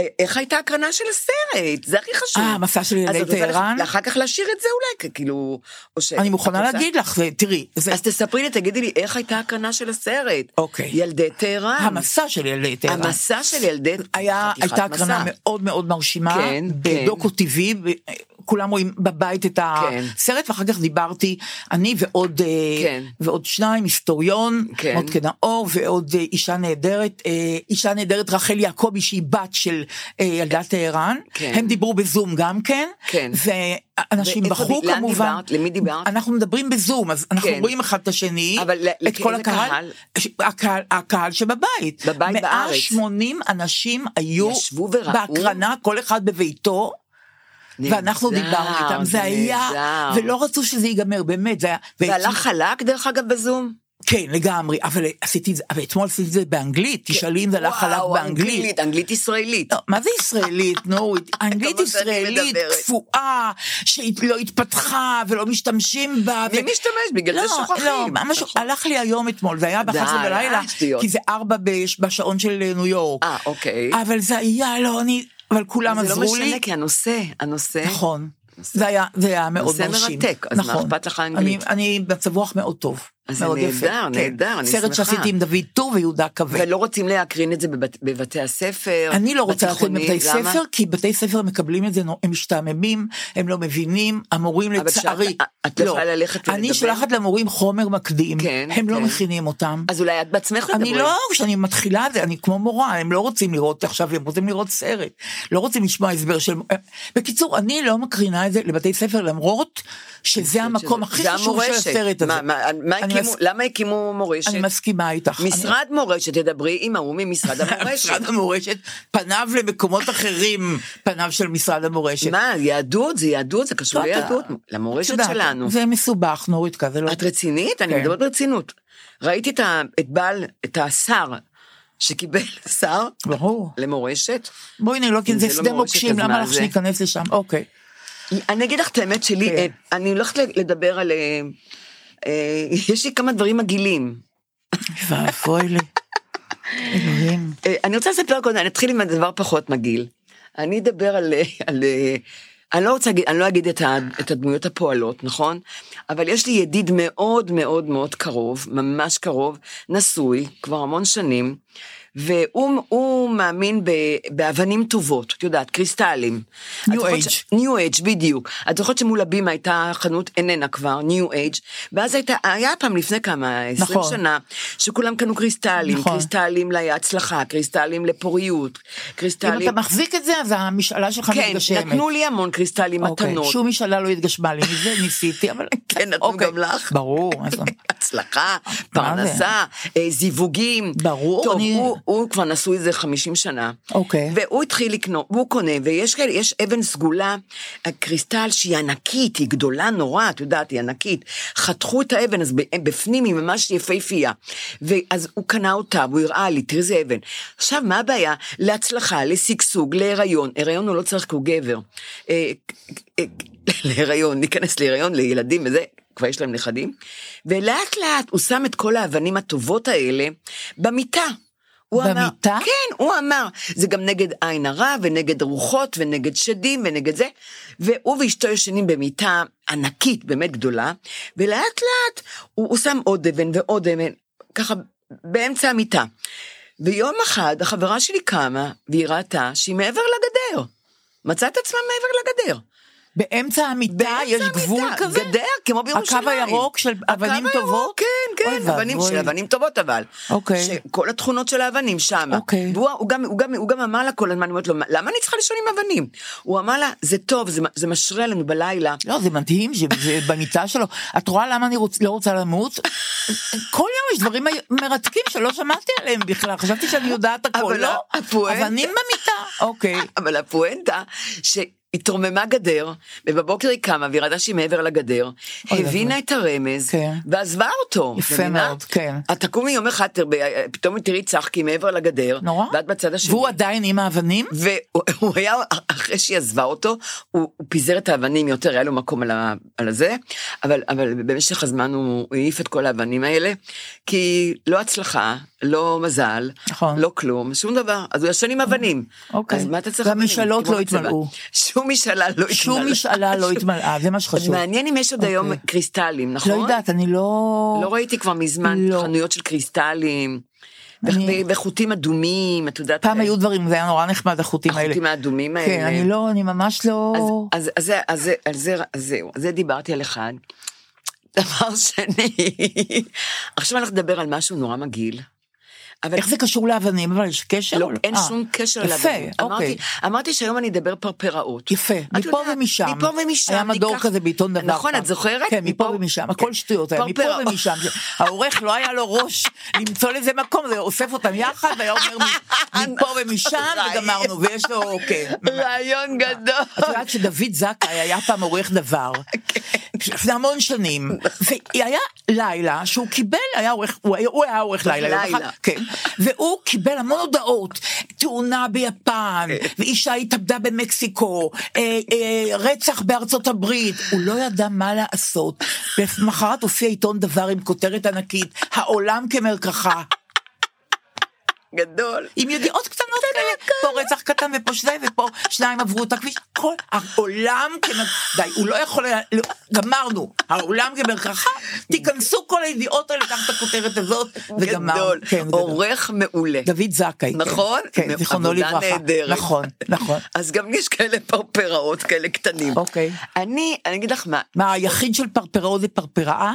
א- איך הייתה הקרנה של הסרט? זה הכי חשוב.
אה, המסע שלי
אז
אלי
את רוצה
טהרן?
לח- אחר כך להשאיר את זה אולי, כ- כאילו... או ש-
אני
את
מוכנה
רוצה?
להגיד לך, זה- תראי, זה
אז תספרי לי, תגידי לי, איך הייתה הקרנה של הסרט?
אוקיי.
ילדי טהרן.
המסע שלי אלי טהרן.
המסע של ילדי...
כן, היה,
חתיכת
הייתה הקרנה
מסע.
מאוד מאוד מרשימה,
כן,
בדוקו טבעי, ב- כולם רואים בבית את
כן.
הסרט, ואחר כך דיברתי, אני ועוד, אה,
כן.
ועוד שניים, היסטוריון,
כן.
מודקה נאור, ועוד אה, אישה נהדרת, אה, אישה נהדרת רחל יעקבי, שהיא בת של אה, ילדת טהרן,
כן.
הם דיברו בזום גם כן,
כן.
ואנשים
ואיפה-
בחרו
לאן
כמובן,
דיברת? למי דיברת?
אנחנו מדברים בזום, אז אנחנו
כן.
רואים אחד את השני,
אבל ל-
את כל
לאיזה
הקהל,
קהל?
הקהל, הקהל שבבית,
בבית בארץ.
180 אנשים היו. היו
ישבו וראו?
בהקרנה, כל אחד בביתו,
נהדר,
ואנחנו דיברנו איתם, זה היה,
נהדר.
ולא רצו שזה ייגמר, באמת, זה היה...
והלך
ואתמול-
חלק, דרך אגב, בזום?
כן, לגמרי, אבל עשיתי את זה, אבל אתמול עשיתי את זה באנגלית, תשאלי אם זה הלך חלק
כן. וואו,
באנגלית.
אנגלית ישראלית.
לא, מה זה ישראלית, נורית? אנגלית
כמה שאני
ישראלית
מדברת.
קפואה, שלא התפתחה ולא משתמשים בה.
מי
ו-
משתמש? בגלל זה שוכחים.
לא, ממש,
נכון.
הלך לי היום אתמול, זה היה
די,
ב-11 בלילה,
אה, שטויות.
כי זה ארבע בש- בשעון של אה, ניו יורק.
אה, אוקיי.
אבל זה היה, לא, אני... אבל כולם
זה
עזרו
לא משנה,
לי.
כי הנושא, הנושא...
נכון. זה היה, זה היה מאוד
נושא
מרשים. נכון.
מרתק, אז מה אכפת לך אנגלית?
אני, אני במצב רוח מאוד טוב.
אז זה
מאוד
נהדר,
יפה, כן.
נהדר, אני
סרט
שמחה.
שעשיתי עם דוד טור ויהודה כבד.
ולא לא רוצים להקרין את זה בבת, בבתי הספר,
אני לא רוצה להתחיל
בתיכונים,
בבתי
למה?
ספר, כי בתי ספר מקבלים את זה, נו- הם משתעממים, הם לא מבינים, המורים
אבל
לצערי.
כשאת- את לא יכולה ללכת
אני
ולדבר?
שולחת למורים חומר מקדים,
כן,
הם לא
כן.
מכינים אותם.
אז אולי את בעצמך תדברי.
אני לא, כשאני מתחילה את זה, אני כמו מורה, הם לא רוצים לראות עכשיו, הם רוצים לראות סרט. לא רוצים לשמוע הסבר של... בקיצור, אני לא מקרינה את זה לבתי ספר, למרות שזה המקום הכי
זה
חשוב של
המורשת.
הסרט הזה.
מה- מה- מה
אני
הקימו-
מס-
למה הקימו מורשת?
אני מסכימה איתך.
משרד מורשת, תדברי עם ההוא ממשרד
אני-
המורשת.
משרד המורשת, פניו למקומות אחרים, פניו של משרד המורשת.
מה, יהדות זה יהדות, זה קשור
לא, אתה-
ליהדות, למורשת
יודעת,
שלנו.
זה מסובך, נורית, זה לא...
את רצינית? אני
כן.
מדברת ברצינות. ראיתי את ה- את בעל, את השר, שקיבל שר
ברור.
למורשת.
בואי נראה,
אם
זה
זה לא
שדה
מורשת,
מוקשים,
אז
למה
מה
לך
זה?
שניכנס לשם? אוקיי.
אני אגיד לך את האמת שלי,
כן.
אה, אני הולכת לדבר על... אה, אה, יש לי כמה דברים מגעילים.
ואבוי לי. אלוהים.
אה, אני רוצה לספר קודם, אני אתחיל עם הדבר פחות מגעיל. אני אדבר על... אה, על אה, אני לא רוצה להגיד, אני לא אגיד את, ה, את הדמויות הפועלות, נכון? אבל יש לי ידיד מאוד מאוד מאוד קרוב, ממש קרוב, נשוי כבר המון שנים, והוא הוא מאמין ב, באבנים טובות, את יודעת, קריסטלים. את זוכרת
Age.
ש- ניו אייג' בדיוק. את זוכרת שמול הבימה הייתה חנות איננה כבר, ניו אייג', ואז הייתה, היה פעם לפני כמה, עשרים
נכון.
שנה, שכולם קנו קריסטלים,
נכון.
קריסטלים להצלחה, קריסטלים לפוריות,
אם אתה
קריסטלים...
מחזיק את זה, אז המשאלה שלך
כן,
מתגשמת.
נתנו לי המון קריסטלים
אוקיי,
מתנות.
שום משאלה לא התגשמה לי, מזה ניסיתי, אבל...
כן, נתנו
אוקיי.
גם לך.
ברור, אז... לא.
הצלחה, פרנסה, אה, זיווגים.
ברור,
טוב,
אני-
הוא, הוא כבר נשוי איזה 50 שנה.
אוקיי.
והוא התחיל לקנות, הוא קונה, ויש כאלה, יש אבן סגולה, קריסטל שהיא ענקית, היא גדולה נורא, את יודעת, היא ענקית. חתכו את האבן, אז בפנים היא ממש יפהפייה. ואז הוא קנה אותה, והוא הראה לי, תראי איזה אבן. עכשיו, מה הבעיה? להצלחה, לשגשוג, להיריון. הריון הוא לא צריך כי הוא גבר. אה, אה, להיריון, ניכנס להיריון, לילדים וזה. כבר יש להם נכדים, ולאט לאט הוא שם את כל האבנים הטובות האלה במיטה. הוא אמר-
במיטה?
כן, כן, הוא אמר, זה גם נגד עין הרע ונגד רוחות ונגד שדים ונגד זה. והוא ואשתו ישנים במיטה ענקית, באמת גדולה, ולאט לאט הוא, הוא שם עוד אבן ועוד אבן, ככה באמצע המיטה. ויום אחד החברה שלי קמה והיא ראתה שהיא מעבר לגדר. מצאה את עצמה מעבר לגדר.
באמצע המיטה
באמצע
יש
המיטה,
גבול כזה?
גדר, כמו בירושלים.
הקו הירוק של אבנים
הקו
טובות?
הירוק, כן,
אוי
כן, אבנים
ואבוי.
של אבנים טובות אבל.
אוקיי.
שכל התכונות של האבנים שם.
אוקיי.
והוא הוא גם, הוא גם, הוא גם אמר לה כל הזמן, אני אומרת לו, "מה- למה אני צריכה לישון עם אבנים? הוא אמר לה, זה טוב, זה, זה משרה לנו בלילה.
לא, זה מדהים שזה במיטה שלו. את רואה למה אני רוצ, לא רוצה למות? כל יום יש דברים מרתקים שלא שמעתי עליהם בכלל, חשבתי שאני יודעת הכל.
אבל
לא,
הפואנטה- אה,
אבנים במיטה, אוקיי.
אבל הפואנטה, שהתרוממה גדר, ובבוקר היא קמה והיא ראתה שהיא מעבר לגדר,
אוי
הבינה את הרמז,
כן.
ועזבה אותו.
יפה
מבינה?
מאוד, כן.
את תקומי יום אחד, תראה, פתאום תראי צחקי מעבר לגדר,
נורא.
ואת בצד השני.
והוא עדיין עם האבנים?
והוא היה, אחרי שהיא עזבה אותו, הוא, הוא פיזר את האבנים יותר, היה לו מקום על, ה, על הזה, אבל, אבל במשך הזמן הוא העיף את כל האבנים האלה, כי לא הצלחה, לא מזל,
נכון.
לא כלום, שום דבר, אז הוא ישן עם אבנים.
אוקיי.
אז מה אתה צריך אבנים?
והמשאלות
כמו
לא
בצבא.
התמלאו.
שום משאלה לא התמלאה.
שום משאלה לא התמלאה, זה מה
אז
שחשוב.
מעניין אם יש עוד
אוקיי.
היום קריסטלים, נכון?
לא יודעת, אני לא...
לא ראיתי כבר מזמן
לא.
חנויות של קריסטלים,
אני-
ו- וחוטים אדומים, את יודעת. אה,
פעם היו דברים, זה היה נורא נחמד, החוטים האלה.
החוטים האדומים האלה.
כן, אני לא, אני ממש לא...
אז, אז, אז, זה- אז, זה- אז, זה- אז זהו, אז זה דיברתי על אחד. דבר שני, עכשיו אני הולכת לדבר על משהו נורא מגעיל. אבל
איך זה קשור לאבנים? אבל יש קשר?
לא,
או
אין
אה,
שום קשר
יפה,
לדברים.
אוקיי.
אמרתי, אמרתי שהיום אני אדבר פרפראות.
יפה,
את
מפה
יודעת,
ומשם.
מפה ומשם.
היה מדור
ניקח-
כזה בעיתון דבר.
נכון,
פעם.
את זוכרת?
כן, מפה ומשם,
כן.
הכל שטויות היה, מפה
פרפראות.
ומשם. זה- העורך לא היה לו ראש למצוא לזה מקום, זה אוסף אותם יחד, והיה אומר "מ- מפה ומשם, וגמרנו, ויש לו, כן.
רעיון
את
גדול.
יודעת שדוד זכאי היה פעם עורך דבר, לפני המון שנים, והיה לילה שהוא קיבל, היה עורך, הוא היה- הוא היה עורך לילה, יום אחד,
לילה.
כן, והוא קיבל המון הודעות, תאונה ביפן, ואישה התאבדה במקסיקו, אה, אה, רצח בארצות הברית, הוא לא ידע מה לעשות, למחרת הופיע עיתון דבר עם כותרת ענקית, העולם כמרקחה,
גדול.
עם ידיעות קטנות מלא, פה רצח קטן ופה שניים ופה שניים עברו את הכביש, כל העולם, כמ- די, הוא לא יכול, היה- לא, גמרנו, העולם כמרקחה, תיכנסו כל הידיעות האלה תחת הכותרת הזאת, וגמרנו.
גדול.
כן, גדול.
עורך מעולה.
דוד זכאי. כן.
נכון?
כן, זיכרונו
עבודה
לברכה.
נהדרת.
נכון, נכון.
אז גם יש כאלה פרפראות כאלה קטנים.
אוקיי.
אני, אני אגיד לך מה,
מה, היחיד של פרפראות זה פרפראה?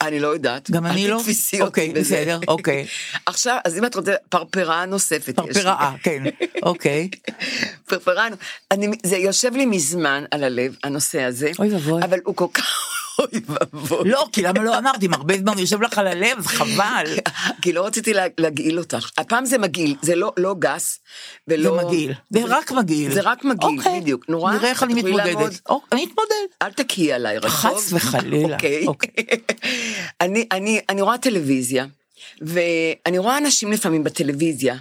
אני לא יודעת.
גם אני
אל
לא?
תתפסי אותי
אוקיי,
בזה.
בסדר, אוקיי.
עכשיו, אז אם את רוצה, פרפרה נוספת יש לי.
פרפראה, כן, אוקיי.
פרפרנו. אני, זה יושב לי מזמן על הלב, הנושא הזה.
אוי ואבוי.
אבל הוא כל כך... אוי ואבוי.
לא, כי למה לא אמרתי, אם הרבה זמן הוא יושב לך על הלב, אז חבל.
כי לא רציתי לה, להגעיל אותך. הפעם זה מגעיל, זה לא, לא גס
זה
ולא...
מגעיל, זה רק מגעיל.
לא. זה רק מגעיל,
אוקיי.
בדיוק. נורא,
נראה איך אני
את תוכלי לעמוד.
מתמודדת. אוק, אני אתמודד.
אל תקיעי עליי רחוב.
חס וחלילה.
אוקיי.
אוקיי.
אני, אני, אני רואה טלוויזיה, ואני רואה אנשים לפעמים בטלוויזיה,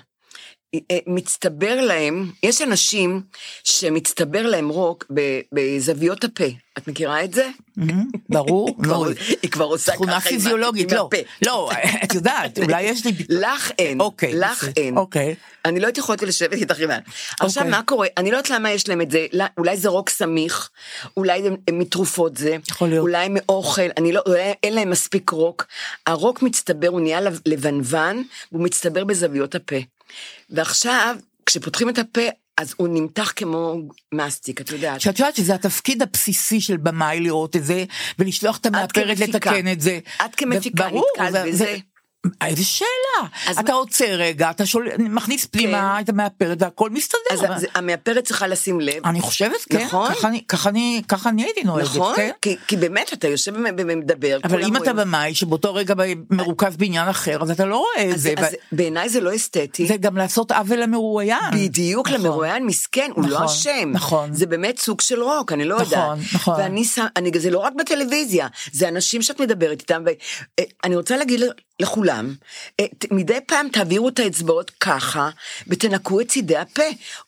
אה, מצטבר להם, יש אנשים שמצטבר להם רוק ב- בזוויות הפה. את מכירה את זה?
מהמם, אוקיי. ברור,
כבר-
מאוד.
היא כבר עושה ככה עם
תכונה
ה-
פיזיולוגית,
עם
לא.
הפה.
לא, את יודעת, אולי יש לי... ביט-
לך אין,
אוקיי,
לך
בסדר,
אין.
אוקיי.
אני לא הייתי יכולת לשבת איתך עם ה... עכשיו, מה קורה? אני לא יודעת למה יש להם את זה, לא- אולי זה רוק סמיך, אולי זה מתרופות זה,
יכול להיות.
אולי מאוכל, אני לא, אולי אין להם מספיק רוק. הרוק מצטבר, הוא נהיה לב- לבנוון, הוא מצטבר בזוויות הפה. ועכשיו, כשפותחים את הפה, אז הוא נמתח כמו מסטיק, את יודעת.
שאת יודעת שזה התפקיד הבסיסי של במאי לראות את זה, ולשלוח את המאפרת
כמפיקה.
לתקן את זה.
את כמפיקה
ברור,
נתקלת
זה-
בזה?
זה- אה, איזה שאלה.
אז כן.
אתה עוצר רגע, אתה שול- מכניס פנימה את המאפרת והכל מסתדר.
אז
אבל-
זה- המאפרת צריכה לשים לב.
אני חושבת, כן.
נכון?
ככה אני- ככה אני- ככה אני הייתי נוהגת,
נכון?
כן.
כי, כי באמת, אתה יושב ומדבר,
אבל אם אתה במאי שבאותו רגע ב- מרוכז בעניין אחר, אז אתה לא רואה את
אז,
זה.
אז בעיניי זה לא אסתטי.
זה גם לעשות עוול למרואיין.
בדיוק
נכון.
למרואיין מסכן, הוא
נכון,
לא אשם.
נכון.
זה באמת סוג של רוק, אני לא
נכון,
יודעת.
נכון.
ואני שם, אני, זה לא רק בטלוויזיה, זה אנשים שאת מדברת איתם, ואני רוצה להגיד ל- לכולם, אה, ת- מדי פעם תעבירו את האצבעות ככה, ותנקו את צידי הפה.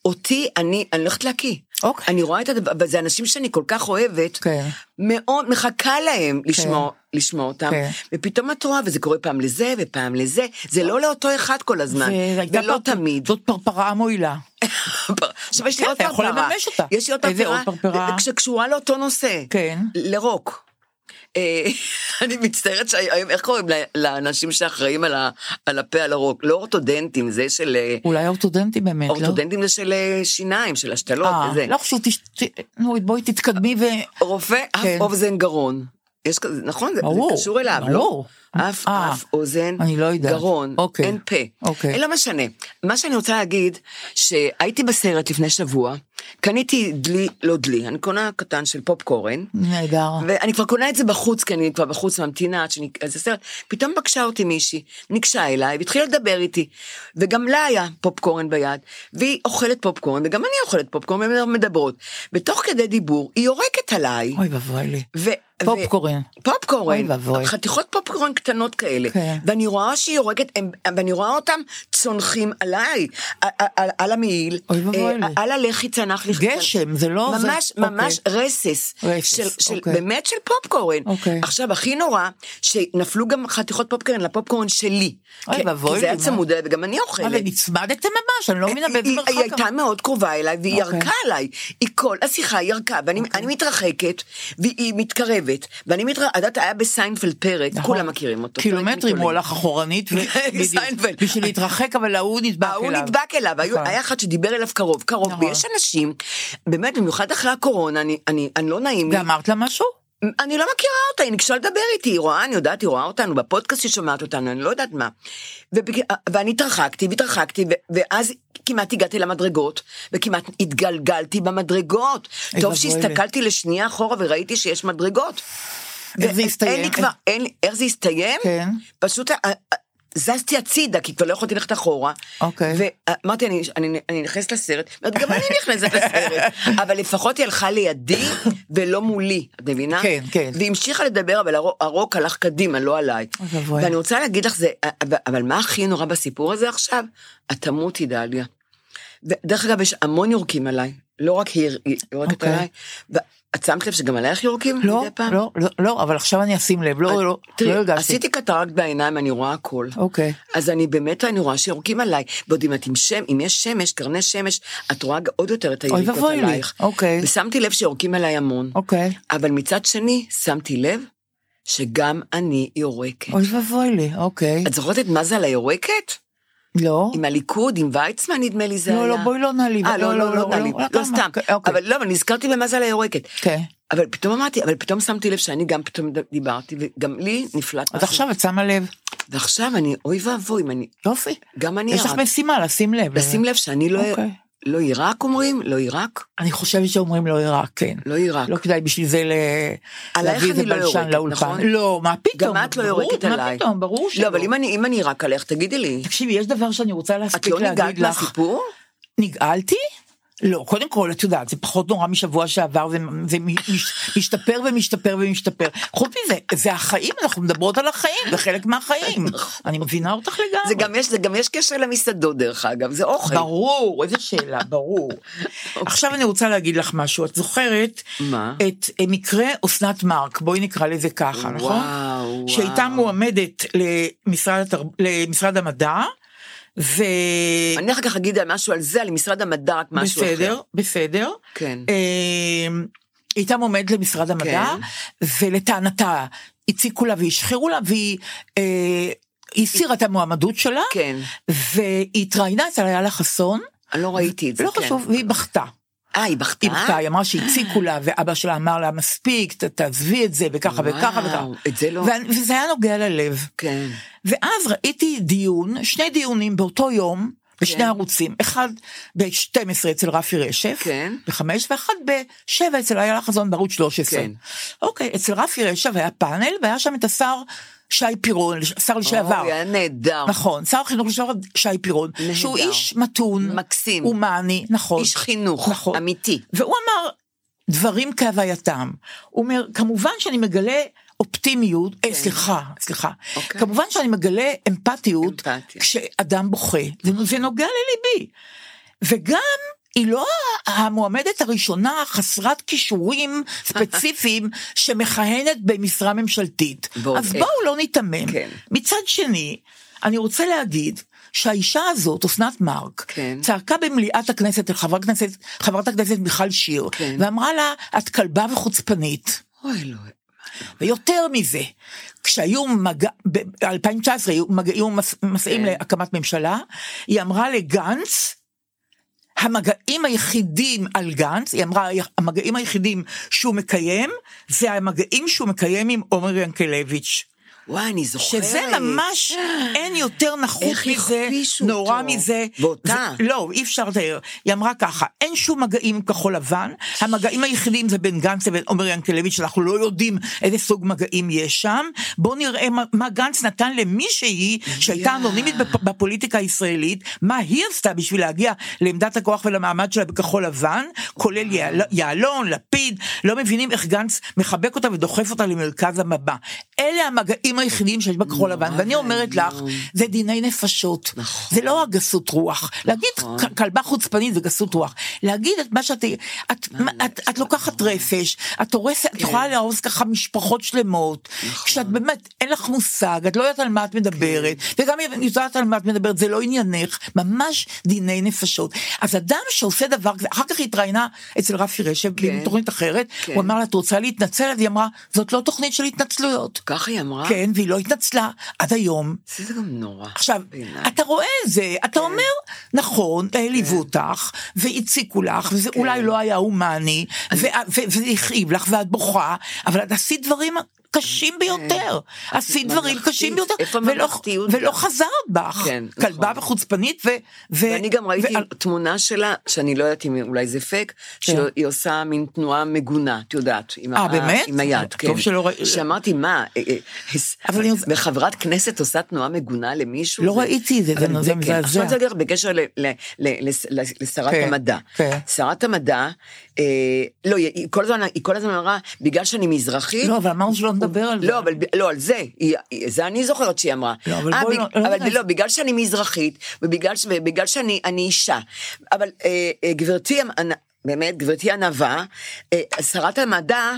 אותי, אני, אני הולכת להקיא.
אוקיי.
אני רואה את הדבר, אבל זה אנשים שאני כל כך אוהבת,
כן.
מאוד מחכה להם לשמוע, לשמוע אותם,
כן.
ופתאום את רואה, וזה קורה פעם לזה ופעם לזה, זה לא לאותו אחד כל הזמן,
והייתה
ולא
פר-
תמיד.
זאת פרפרה מועילה.
עכשיו יש לי
כן,
עוד
אתה יכול
פרפרה.
לממש אותה.
יש לי עוד
איזה
פרפרה.
עוד פרפרה?
שקשורה לאותו נושא.
כן.
לרוק. אה, אני מצטערת שהיום, איך קוראים ל- לאנשים שאחראים על ה- על הפה, על הרוק? לא אורתודנטים, זה של... אה,
אולי האורתודנטים באמת, לא?
אורתודנטים זה של אה, שיניים, של השתלות
אה,
וזה.
לא חשוב, תש- ת- נו, בואי תתקדמי ו...
רופא אף
כן.
אוזן גרון. יש כזה, נכון? זה,
ברור,
זה קשור אליו,
ברור.
לא? אף,
אה,
אף, אוזן,
אני לא יודעת.
גרון,
אוקיי.
אין פה.
אוקיי.
אה, לא משנה. מה שאני רוצה להגיד, שהייתי בסרט לפני שבוע, קניתי דלי, לא דלי, אני קונה קטן של פופקורן,
נהדר.
ואני כבר קונה את זה בחוץ, כי אני כבר בחוץ ממתינה עד שאני... אז הסרט, פתאום פגשה אותי מישהי, ניגשה אליי והתחילה לדבר איתי. וגם לה היה פופקורן ביד, והיא אוכלת פופקורן, וגם אני אוכלת פופקורן, והן מדברות. ותוך כדי דיבור, היא יורקת עליי.
אוי ואבוי לי.
ו...
פופקורן.
ו... פופקורן,
אוי ואבוי.
חתיכות פופקורן קטנות כאלה,
כן.
ואני רואה שהיא יורגת, הם- ואני רואה אותם צונחים עליי, ע- ע- על, על המעיל,
אוי ואבוי
אה,
לי.
על הלחי צנח לי,
גשם, זה לא- זה-
ממש,
אוקיי.
ממש רסס,
רסס,
של, של,
אוקיי.
באמת של פופקורן,
אוקיי.
עכשיו הכי נורא, שנפלו גם חתיכות פופקורן לפופקורן שלי,
אוי
כי-
ואבוי
כי זה
לי,
היה
מה?
צמוד אליי וגם אני אוכלת,
אבל נצמדתם ממש, אני לא מבינה
אה, היא-
באיזה
היא- היא
מרחק.
הייתה מאוד קרובה אליי, והיא
אוקיי.
ירקה עליי. היא כל השיחה ירקה, ואני אני מתרחקת, והיא מתקרבת, ואני מתרחקת, את יודעת, היה בסיינפלד פרק,
נכון.
כולם מכירים אותו. פרק
קילומטרים הוא
מתעלל.
הלך אחורנית, ו-
כן,
בדיוק.
סיינפלד.
בשביל להתרחק, אבל ההוא נדבק אליו.
ההוא אה, נדבק אליו, היו-
נכון.
היה אחד שדיבר אליו קרוב, קרוב,
נכון.
ויש אנשים, באמת, במיוחד אחרי הקורונה, אני- אני אני לא נעים לי,
ואמרת לה משהו?
אני לא מכירה אותה, היא ניגשה לדבר איתי, היא רואה, אני יודעת, היא רואה אותנו, בפודקאסט היא שומעת אותנו, אני לא יודעת מה. ובג- ואני התרחקתי והתרחקתי, ו- ואז כמעט הגעתי למדרגות, וכמעט התגלגלתי במדרגות.
אוי
טוב
ואבוי
שהסתכלתי לשנייה אחורה וראיתי שיש מדרגות.
איך זה
ואין-
הסתיים?
אה, אין לי כבר, אין לי, איך זה הסתיים?
כן.
פשוט אה, אה, זזתי הצידה, כי כבר לא יכולתי ללכת אחורה.
אוקיי.
ואמרתי, אני, אני, אני נכנסת לסרט, אומרת, גם אני נכנסת לסרט, אבל לפחות היא הלכה לידי ולא מולי, את מבינה?
כן, כן.
והיא המשיכה לדבר, אבל הרוק, הרוק הלך קדימה, לא עליי.
אוי ואבוי.
ואני רוצה להגיד לך, זה, אה, אבל- אבל מה הכי נורא בסיפור הזה עכשיו? את תמותי, דליה. ו- דרך אגב, יש המון יורקים עליי, לא רק היא יורקת
אוקיי.
עליי, ו- את שמת לב שגם עלייך יורקים
לא,
מדי פעם? אה,
לא, לא, לא, אבל עכשיו אני אשים לב, לא, לא,
תראי,
לא הרגשתי.
עשיתי קטרקט בעיניים, אני רואה הכל.
אוקיי.
אז אני באמת, אני רואה שיורקים עליי. ועוד אם את עם שם, אם יש שמש, קרני שמש, את רואה עוד יותר את היריקות
ואבוי לי.
עלייך.
אוקיי.
ושמתי לב שיורקים עליי המון.
אוקיי.
אבל מצד שני, שמתי לב שגם אני יורקת.
אוי ואבוי לי, אוקיי.
את זוכרת את מה זה על היורקת?
לא.
עם הליכוד, עם ויצמן, נדמה לי זה היה.
לא, לא, בואי לא נעליב.
אה, לא, לא, לא, טלי, לא
למה?
סתם.
אוקיי.
אבל לא, אבל נזכרתי במה זה על היורקת.
כן.
אבל פתאום אמרתי, אבל פתאום שמתי לב שאני גם פתאום דיברתי, וגם לי נפלט
אז עכשיו את שמה לב.
ועכשיו אני, אוי ואבוי, אם אני,
יופי.
גם אני
יש לך
עיראק.
משימה לשים לב.
לשים לב שאני לא,
אוקיי.
לא עיראק אומרים? לא עיראק?
אני חושבת שאומרים לא עיראק, כן.
לא עיראק.
לא כדאי בשביל זה ל-
עלייך
להביא איזה
אני לא
בלשן
יורקת,
לאולפן.
נכון?
לא, מה פתאום?
גם את לא
ברור,
יורקת עליי.
מה פתאום, ברור שלא.
לא, אבל אם אני, אם אני עיראק עלייך, תגידי לי.
תקשיבי, יש דבר שאני רוצה
את
להספיק
לא
להגיד
נגעת
לך.
מהסיפור?
נגעלתי? לא, קודם כל, את יודעת, זה פחות נורא משבוע שעבר, זה, זה מ- מש- משתפר ומשתפר ומשתפר. חוץ מזה, זה החיים, אנחנו מדברות על החיים, זה חלק מהחיים. אני מבינה אותך לגמרי.
זה גם יש, זה גם יש קשר למסעדות דרך אגב, זה אוכל.
ברור, איזה שאלה, ברור.
אוקיי.
עכשיו אני רוצה להגיד לך משהו, את זוכרת
מה?
את אה, מקרה אסנת מארק, בואי נקרא לזה ככה, נכון?
וואו.
שהייתה מועמדת למשרד, התרב... למשרד המדע, ו...
אני אחר כך אגיד על משהו על זה, על משרד המדע, רק משהו אחר.
בסדר, בסדר.
כן.
אמ, היא הייתה מועמדת למשרד המדע,
אוקיי.
ולטענתה הציקו לה והשחירו לה, והיא אה, היא הסירה את המועמדות שלה,
כן.
והיא התראיינה אצל איילה חסון,
אני לא ראיתי את זה,
לא
כן.
חשוב, והיא בכתה.
אה, היא בכתה?
היא בכתה, היא אמרה שהציקו לה, ואבא שלה אמר לה, מספיק, ת- תעזבי את זה, וככה וככה וככה.
וואו, את זה לא...
ו- וזה היה נוגע ללב.
כן.
ואז ראיתי דיון, שני דיונים באותו יום, בשני
כן.
ערוצים, אחד ב-12 אצל רפי רשף,
כן.
בחמש, ואחד בשבע אצל איילה חזון בערוץ 13.
כן.
אוקיי, אצל רפי רשף היה פאנל, והיה שם את השר שי פירון,
אוקיי,
שר לשעבר.
אוי, היה נהדר.
נכון, שר החינוך לשעבר שי פירון,
נהדר.
שהוא איש מתון,
מקסים.
הומני, נכון.
איש חינוך,
נכון.
אמיתי.
והוא אמר דברים כהווייתם. הוא אומר, כמובן שאני מגלה אופטימיות, אה, סליחה, סליחה,
כן. אוקיי.
כמובן שאני מגלה אמפתיות
אמפתיה.
כשאדם בוכה, זה, זה נוגע לליבי. וגם, היא לא המועמדת הראשונה חסרת כישורים ספציפיים שמכהנת במשרה ממשלתית.
בואו,
אז
אה,
בואו לא ניתמם.
כן.
מצד שני, אני רוצה להגיד שהאישה הזאת, אסנת מארק,
כן.
צעקה במליאת הכנסת אל חברת הכנסת, חברת הכנסת מיכל שיר,
כן.
ואמרה לה, את כלבה וחוצפנית.
אוי, אלוהים.
ויותר מזה, כשהיו מגע, ב-2019 היו מגעים מס- מסעים
כן.
להקמת ממשלה, היא אמרה לגנץ, המגעים היחידים על גנץ, היא אמרה, המגעים היחידים שהוא מקיים, זה המגעים שהוא מקיים עם עומר ינקלביץ'.
וואי, אני זוכרת.
שזה ממש, אין יותר נחות
איך
מזה,
הכפישו
נורא
אותו.
מזה.
ואותה.
זה- לא, אי אפשר לתאר. היא אמרה ככה, אין שום מגעים עם כחול לבן, המגעים היחידים זה בין גנץ לבין עומר ינקלביץ', שאנחנו לא יודעים איזה סוג מגעים יש שם. בואו נראה מה- מה גנץ נתן למישהי שהייתה
יא.
אנונימית בפ- בפוליטיקה הישראלית, מה היא עשתה בשביל להגיע לעמדת הכוח ולמעמד שלה בכחול לבן, כולל יעל- יעלון, לפיד, לא מבינים איך גנץ מחבק אותה ודוחף אותה למרכז המבע. אלה המגעים היחידים שיש בכחול לבן, ואני אומרת לך,
ואיום.
זה דיני נפשות.
נכון.
זה לא הגסות רוח. להגיד כ- כלבה חוצפנית זה גסות רוח. להגיד את מה שאת... את-
נכון.
מה- את- את לוקחת רפש, את הורסת,
כן.
את יכולה להרוס ככה משפחות שלמות.
נכון.
כשאת באמת, אין לך מושג, את לא יודעת על מה את מדברת,
כן.
וגם אם את יודעת על מה את מדברת, זה לא עניינך, ממש דיני נפשות. אז אדם שעושה דבר כזה, אחר כך היא התראיינה אצל רפי רשב, בתוכנית אחרת,
כן.
הוא אמר לה, את רוצה להתנצל? אז היא אמרה, זאת לא תוכנית של התנצלויות.
ככה היא אמרה?
כן, והיא לא התנצלה עד היום.
זה גם נורא.
עכשיו,
בעיניי.
אתה רואה את זה,
כן.
אתה אומר, נכון, העליבו אותך, והציקו לך, וזה
כן.
אולי לא היה הומני, ו- ו- וזה הכאיב לך, ואת בוכה, אבל את עשית דברים קשים ביותר. עשית דברים
ממלכתית.
קשים ביותר,
כן. איפה
ולא-
הממלכתיות?
ולא חזרת בך.
כן, נכון.
כלבה וחוצפנית, ו... אה, ו-
ואני גם ראיתי
ועל-
תמונה שלה, שאני לא יודעת אם אולי זה פייק, שהיא עושה מין תנועה מגונה, את יודעת. עם
אה,
ה-
באמת?
עם היד,
טוב
כן.
שלא ראי-
שאמרתי, מה, אה, אה,
אבל אני רוצה-
וחברת כנסת עושה תנועה מגונה למישהו?
לא ראיתי את זה, זה
אבל
זה
כן. עכשיו אני
מזעזע.
רוצה להגיד לך בקשר ל- ל- ל- לס- לס- לשרת
כן,
המדע.
כן.
שרת המדע, אה, לא, היא היא כל הזמן- היא כל הזמן אמרה, בגלל שאני מזרחית,
לא, אבל אמרנו שלא נדבר על זה.
לא, אבל ב- לא, על זה, היא- היא- זה אני זוכרת שהיא אמרה.
לא, אבל
אה,
בואי
בג-
לא- לא
אבל
נעשה-
לא, בגלל שאני מזרחית, ובגלל ש- ובגלל שאני אני אישה. אבל אה, אה, גברתי, אמ- אנ- באמת, גברתי ענווה, אה, שרת המדע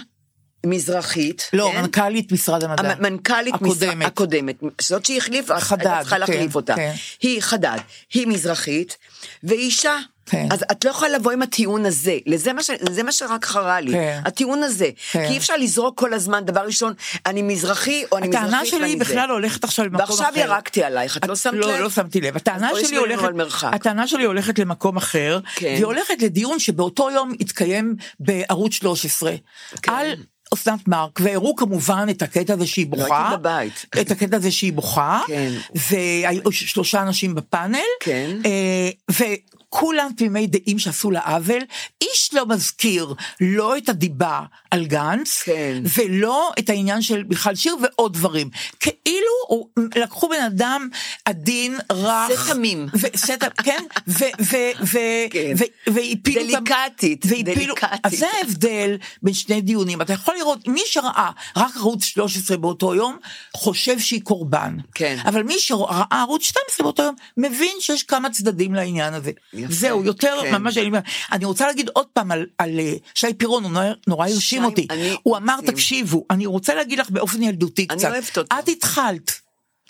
מזרחית.
לא,
כן?
מנכ"לית משרד המדע.
המ- מנכ"לית
הקודמת.
משרד, הקודמת, זאת שהחליפה,
חדד,
הייתה צריכה
כן,
להחליף אותה.
כן.
היא חדד, היא מזרחית, והיא אישה.
כן.
אז את לא יכולה לבוא עם הטיעון הזה, לזה מה, ש... זה מה שרק חרה לי,
כן.
הטיעון הזה.
כן.
כי אי אפשר לזרוק כל הזמן, דבר ראשון, אני מזרחי או אני מזרחית
הטענה
ואני
שלי היא
זה.
בכלל לא- הולכת עכשיו למקום אחר.
ועכשיו ירקתי עלייך, את לא שמת לב?
לא, לא שמתי לב. הטענה
אז פה יש
שלי
בינינו
הולכת,
על מרחק.
הטענה שלי הולכת למקום אחר,
כן.
והיא הולכת לדיון שבאותו יום התקיים בערוץ 13.
כן.
על אסנת מארק, והראו כמובן את הקטע הזה שהיא
לא
בוכה.
הייתי בבית.
את הקטע הזה שהיא בוכה.
כן.
והיו ש- שלושה אנשים בפאנל.
כן.
אה, וכולם תמימי דעים שעשו לה עוול, איש לא מזכיר לא את הדיבה על גנץ,
כן.
ולא את העניין של מיכל שיר ועוד דברים. כאילו הוא- לקחו בן אדם עדין, רך.
זה תמים.
ו- שת- כן, ו- ו- ו-
כן.
ו- והפילו... את ה-
דליקטית,
והפילו-
דליקטית.
אז זה ההבדל בין שני דיונים. אתה יכול לראות, מי שראה רק ערוץ 13 באותו יום, חושב שהיא קורבן.
כן.
אבל מי שראה ערוץ 12 באותו יום, מבין שיש כמה צדדים לעניין הזה.
יפה,
זהו, יותר
כן.
ממש... אני אומר- אני רוצה להגיד עוד פעם על- על אה, שי פירון, הוא נורא- נורא הרשים
שי,
אותי.
אני-
הוא אמר,
מקסים.
תקשיבו, אני רוצה להגיד לך באופן ילדותי
אני
קצת.
אוהבת אותו.
את התחלת.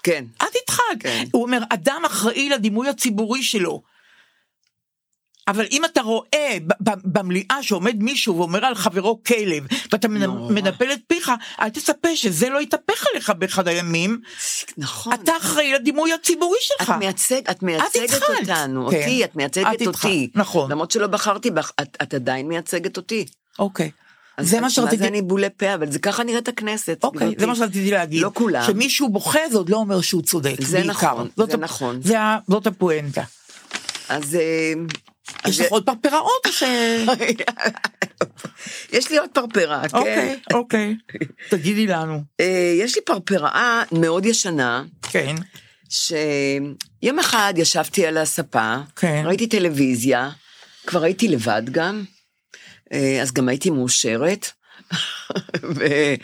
כן.
את התחלת.
כן.
הוא אומר, אדם אחראי לדימוי הציבורי שלו. אבל אם אתה רואה ב- ב- במליאה שעומד מישהו ואומר על חברו כלב, ואתה
נורא.
מנפל את פיך, אל תצפה שזה לא יתהפך עליך באחד הימים,
נכון.
אתה אחראי לדימוי הציבורי
את
שלך.
מייצג, את מייצגת
התחלת.
אותנו,
כן.
אותי, את מייצגת
את
אותי.
התחלת, נכון.
למרות שלא בחרתי בך, את, את עדיין מייצגת אותי.
אוקיי.
אז
זה
את-
מה שרציתי...
מה זה אני בולי פה, אבל זה ככה נראית הכנסת.
אוקיי,
גברתי.
זה מה שרציתי להגיד.
לא כולם.
שמישהו בוכה זה עוד לא אומר שהוא צודק,
זה
בעיקר.
נכון,
זאת
זה
ה-
נכון.
זה ה- זאת הפואנטה.
אז... אה, אז
יש
זה-
לך עוד פרפראות או ש...
יש לי עוד פרפרה, כן.
אוקיי, אוקיי. תגידי לנו.
אה, יש לי פרפרה מאוד ישנה,
כן.
שיום אחד ישבתי על הספה,
כן.
ראיתי טלוויזיה, כבר הייתי לבד גם, אה, אז גם הייתי מאושרת, ו-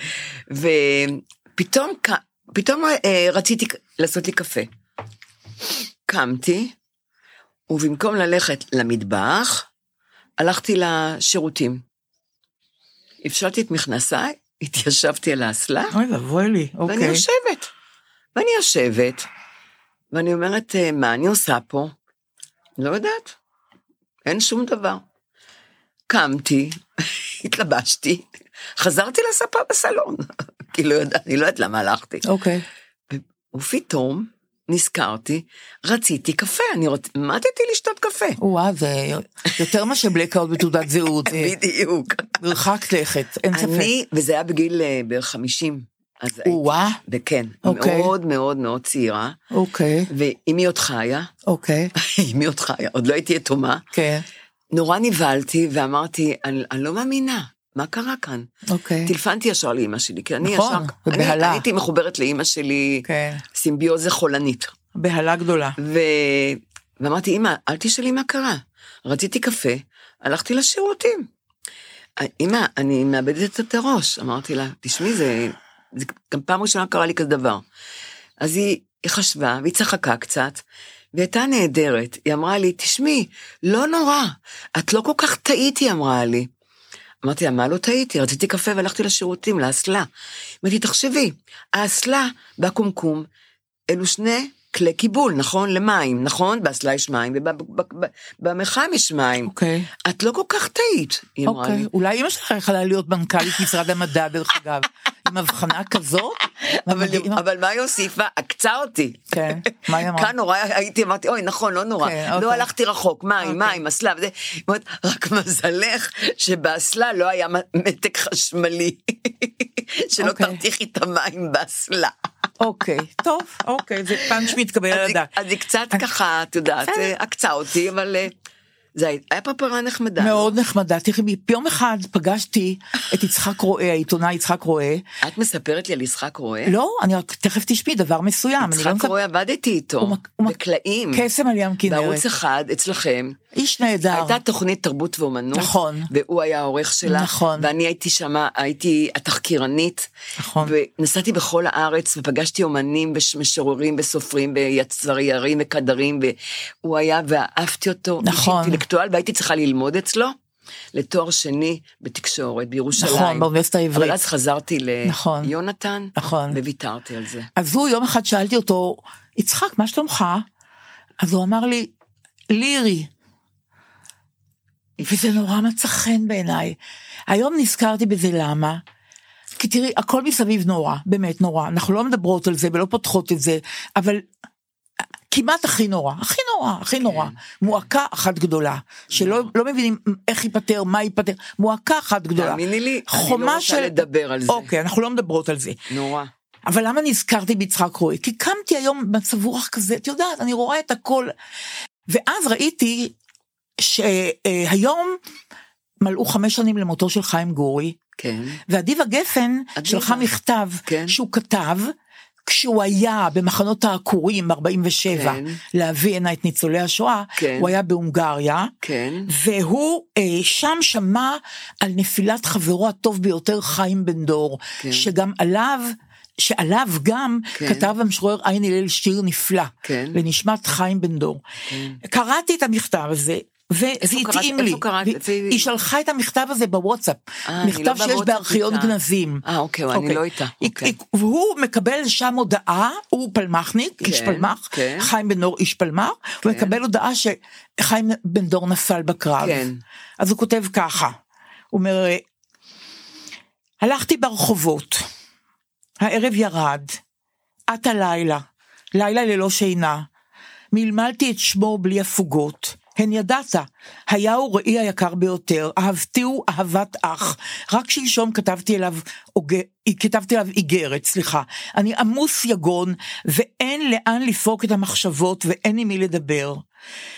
ופתאום ק- פתאום, אה, רציתי ק- לעשות לי קפה. קמתי, ובמקום ללכת למטבח, הלכתי לשירותים. הפשלתי את מכנסיי, התיישבתי על האסלה,
אוי ואבוי לי,
ואני
אוקיי.
יושבת. ואני יושבת, ואני אומרת, "אה, מה אני עושה פה? לא יודעת, אין שום דבר. קמתי, התלבשתי, חזרתי לספה בסלון, כי לא יודעת, אני לא יודעת למה הלכתי.
אוקיי.
ופתאום נזכרתי, רציתי קפה, אני רוצ... מתתי לשתות קפה.
וואה, זה יותר מאשר בלקאוט בתעודת זהות. זה
בדיוק.
מרחק לכת, אין אה, ספק.
אני, וזה היה בגיל אה, בערך 50, אז הייתי,
וואה,
וכן,
אוקיי.
מאוד מאוד מאוד צעירה,
אוקיי,
ואימי עוד חיה,
אוקיי.
אמי עוד חיה, עוד לא הייתי יתומה.
כן,
נורא נבהלתי ואמרתי, אני, אני לא מאמינה, מה קרה כאן?
אוקיי.
טלפנתי ישר לאימא שלי, כי אני
נכון,
ישר... אני-
בבהלה.
אני הייתי מחוברת לאימא שלי,
כן.
סימביוזה חולנית.
בהלה גדולה.
ו... ואמרתי, אמא, אל תשאלי מה קרה. רציתי קפה, הלכתי לשירותים. אמא, אני מאבדת את הראש. אמרתי לה, תשמעי, זה, זה גם פעם ראשונה קרה לי כזה דבר. אז היא, היא חשבה, והיא צחקה קצת, והיא הייתה נהדרת. היא אמרה לי, תשמעי, לא נורא, את לא כל כך טעית, היא אמרה לי. אמרתי לה, מה לא טעיתי? רציתי קפה והלכתי לשירותים, לאסלה. אמרתי, תחשבי, האסלה והקומקום, אלו שני כלי קיבול, נכון? למים, נכון? באסלה יש מים, ובמחם יש מים.
אוקיי,
את לא כל כך טעית, היא אמרה
אוקיי.
לי.
אולי אמא שלך יכלה להיות מנכ"לית משרד המדע, דרך אגב, עם הבחנה כזאת.
אבל,
מדהים.
אבל מה היא הוסיפה? עקצה אותי.
כן, מה היא אמרה?
כאן נורא הייתי, אמרתי, אוי, נכון, לא נורא.
כן,
לא
אוקיי.
הלכתי רחוק, מים,
אוקיי.
מים, אסלה וזה. היא אומרת, רק מזלך שבאסלה לא היה מ- מתק חשמלי. שלא
אוקיי.
תרתיחי את המים באסלה.
אוקיי, טוב, אוקיי, זה פאנץ' מתקבל
אז
על
היא-
הדעת.
אז היא קצת ככה, את יודעת,
בסדר.
אה, עקצה אותי, אבל אה, זה היה- היה פרפרה נחמדה.
מאוד נחמדה. תראי, יום אחד פגשתי את יצחק רואה, העיתונאי יצחק רואה,
את מספרת לי על יצחק רואה?
לא, אני רק, תכף תשמעי דבר מסוים. אני לא
יצחק
מספר-
רואה עבדתי
הוא
איתו,
מק- הוא מק- כן,
בקלעים.
קסם על ים כנרת.
בערוץ אחד, אצלכם,
איש נהדר.
הייתה תוכנית תרבות ואומנות,
נכון.
והוא היה העורך שלה,
נכון.
ואני הייתי שמה, הייתי התחקירנית,
נכון.
ונסעתי בכל הארץ ופגשתי אומנים ומשוררים וסופרים ויצריירים וקדרים, והוא היה ואהבתי אותו, איש
נכון.
אינטלקטואל, והייתי צריכה ללמוד אצלו, לתואר שני בתקשורת בירושלים.
נכון, באוניברסיטה העברית.
אבל אז חזרתי
נכון.
ליונתן,
נכון.
וויתרתי על זה.
אז הוא, יום אחד שאלתי אותו, יצחק, מה שלומך? אז הוא אמר לי, לירי. וזה נורא מצא חן בעיניי. היום נזכרתי בזה למה? כי תראי, הכל מסביב נורא, באמת נורא. אנחנו לא מדברות על זה ולא פותחות את זה, אבל כמעט הכי נורא, הכי נורא, הכי כן. נורא. מועקה אחת גדולה, שלא
נכון.
לא מבינים איך ייפתר, מה ייפתר, מועקה אחת גדולה.
תאמיני לי, אני לא רוצה של... לדבר על זה.
אוקיי, אנחנו לא מדברות על זה.
נורא.
אבל למה נזכרתי ביצחק רועי? כי קמתי היום במצב רוח כזה, את יודעת, אני רואה את הכל. ואז ראיתי שהיום מלאו חמש שנים למותו של חיים גורי.
כן.
ואדיבה גפן אדיבה. שלחה מכתב
כן.
שהוא כתב. כשהוא היה במחנות העקורים 47 כן. להביא הנה את ניצולי השואה,
כן.
הוא היה בהונגריה,
כן.
והוא אה, שם שמע על נפילת חברו הטוב ביותר חיים בן דור,
כן.
שגם עליו שעליו גם
כן.
כתב המשורר עין הלל שיר נפלא,
כן.
לנשמת חיים בן דור.
כן.
קראתי את המכתב הזה. וזה התאים לי,
קראת,
היא,
איפה...
היא שלחה את המכתב הזה בוואטסאפ,
אה,
מכתב
לא
שיש
בוואטסאפ
בארכיון
איתה.
גנזים.
אה, אוקיי, אני לא איתה.
היא-
אוקיי.
היא- והוא מקבל שם הודעה, הוא פלמחניק,
כן,
איש פלמח,
כן.
חיים בן דור איש פלמח, הוא מקבל הודעה שחיים בן דור נפל בקרב.
כן.
אז הוא כותב ככה, הוא אומר, הלכתי ברחובות, הערב ירד, את הלילה, לילה ללא שינה, מלמלתי את שמו בלי הפוגות. הן ידעת, היה הוא ראי היקר ביותר, אהבתיהו אהבת אח. רק שלשום כתבתי אליו, אוג- כתבתי אליו איגרת, סליחה. אני עמוס יגון, ואין לאן לפרוק את המחשבות, ואין עם מי לדבר.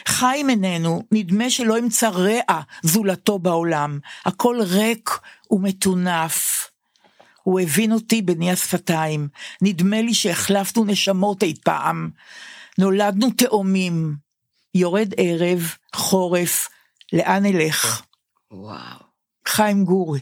חיים איננו, נדמה שלא אמצא רע זולתו בעולם. הכל ריק ומטונף. הוא הבין אותי בני השפתיים, נדמה לי שהחלפנו נשמות אי פעם. נולדנו תאומים, יורד ערב, חורף, לאן אלך?
כן. וואו,
חיים גורי.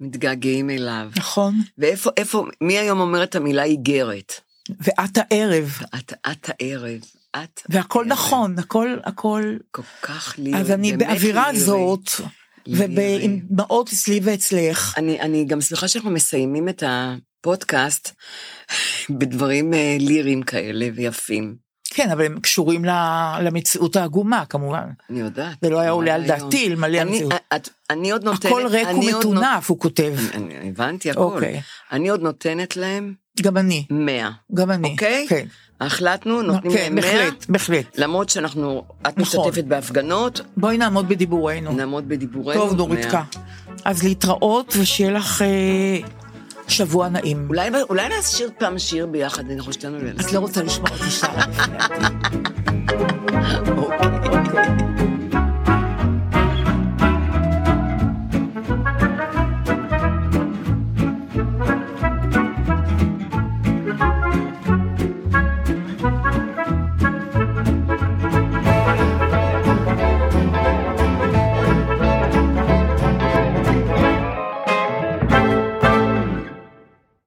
מתגעגעים אליו.
נכון.
ואיפה, איפה, מי היום אומר את המילה איגרת?
ואת הערב,
את, את הערב, את...
והכל
הערב.
נכון, הכל, הכל.
כל כך לירי,
אז אני
באמת
באווירה
לירי.
זאת,
לירי.
ועם דמעות אצלי ואצלך.
אני, אני גם שמחה שאנחנו מסיימים את הפודקאסט בדברים אה, ליריים כאלה ויפים.
כן, אבל הם קשורים ל- למציאות העגומה, כמובן.
אני יודעת.
זה לא היה עולה על
היום.
דעתי, אלמלא
אני- אה,
המציאות.
את- אני עוד נותנת...
הכל ריק
אני עוד נות-
ומטונף, הוא כותב.
אני- הבנתי הכל.
אוקיי.
אני עוד נותנת להם
גם אני,
100.
גם אני.
אוקיי?
כן.
החלטנו, נותנים להם
כן,
100.
בהחלט, בהחלט.
למרות שאנחנו, את
נכון.
משתתפת בהפגנות,
בואי נעמוד בדיבורנו.
נעמוד בדיבורנו.
טוב, נורית
100.
אז להתראות ושיהיה לך אה, שבוע נעים.
אולי, אולי נשיר פעם שיר ביחד, אנחנו שתינו ננסה.
את לא רוצה לשמוע אותי שרה לפני.
אוקיי.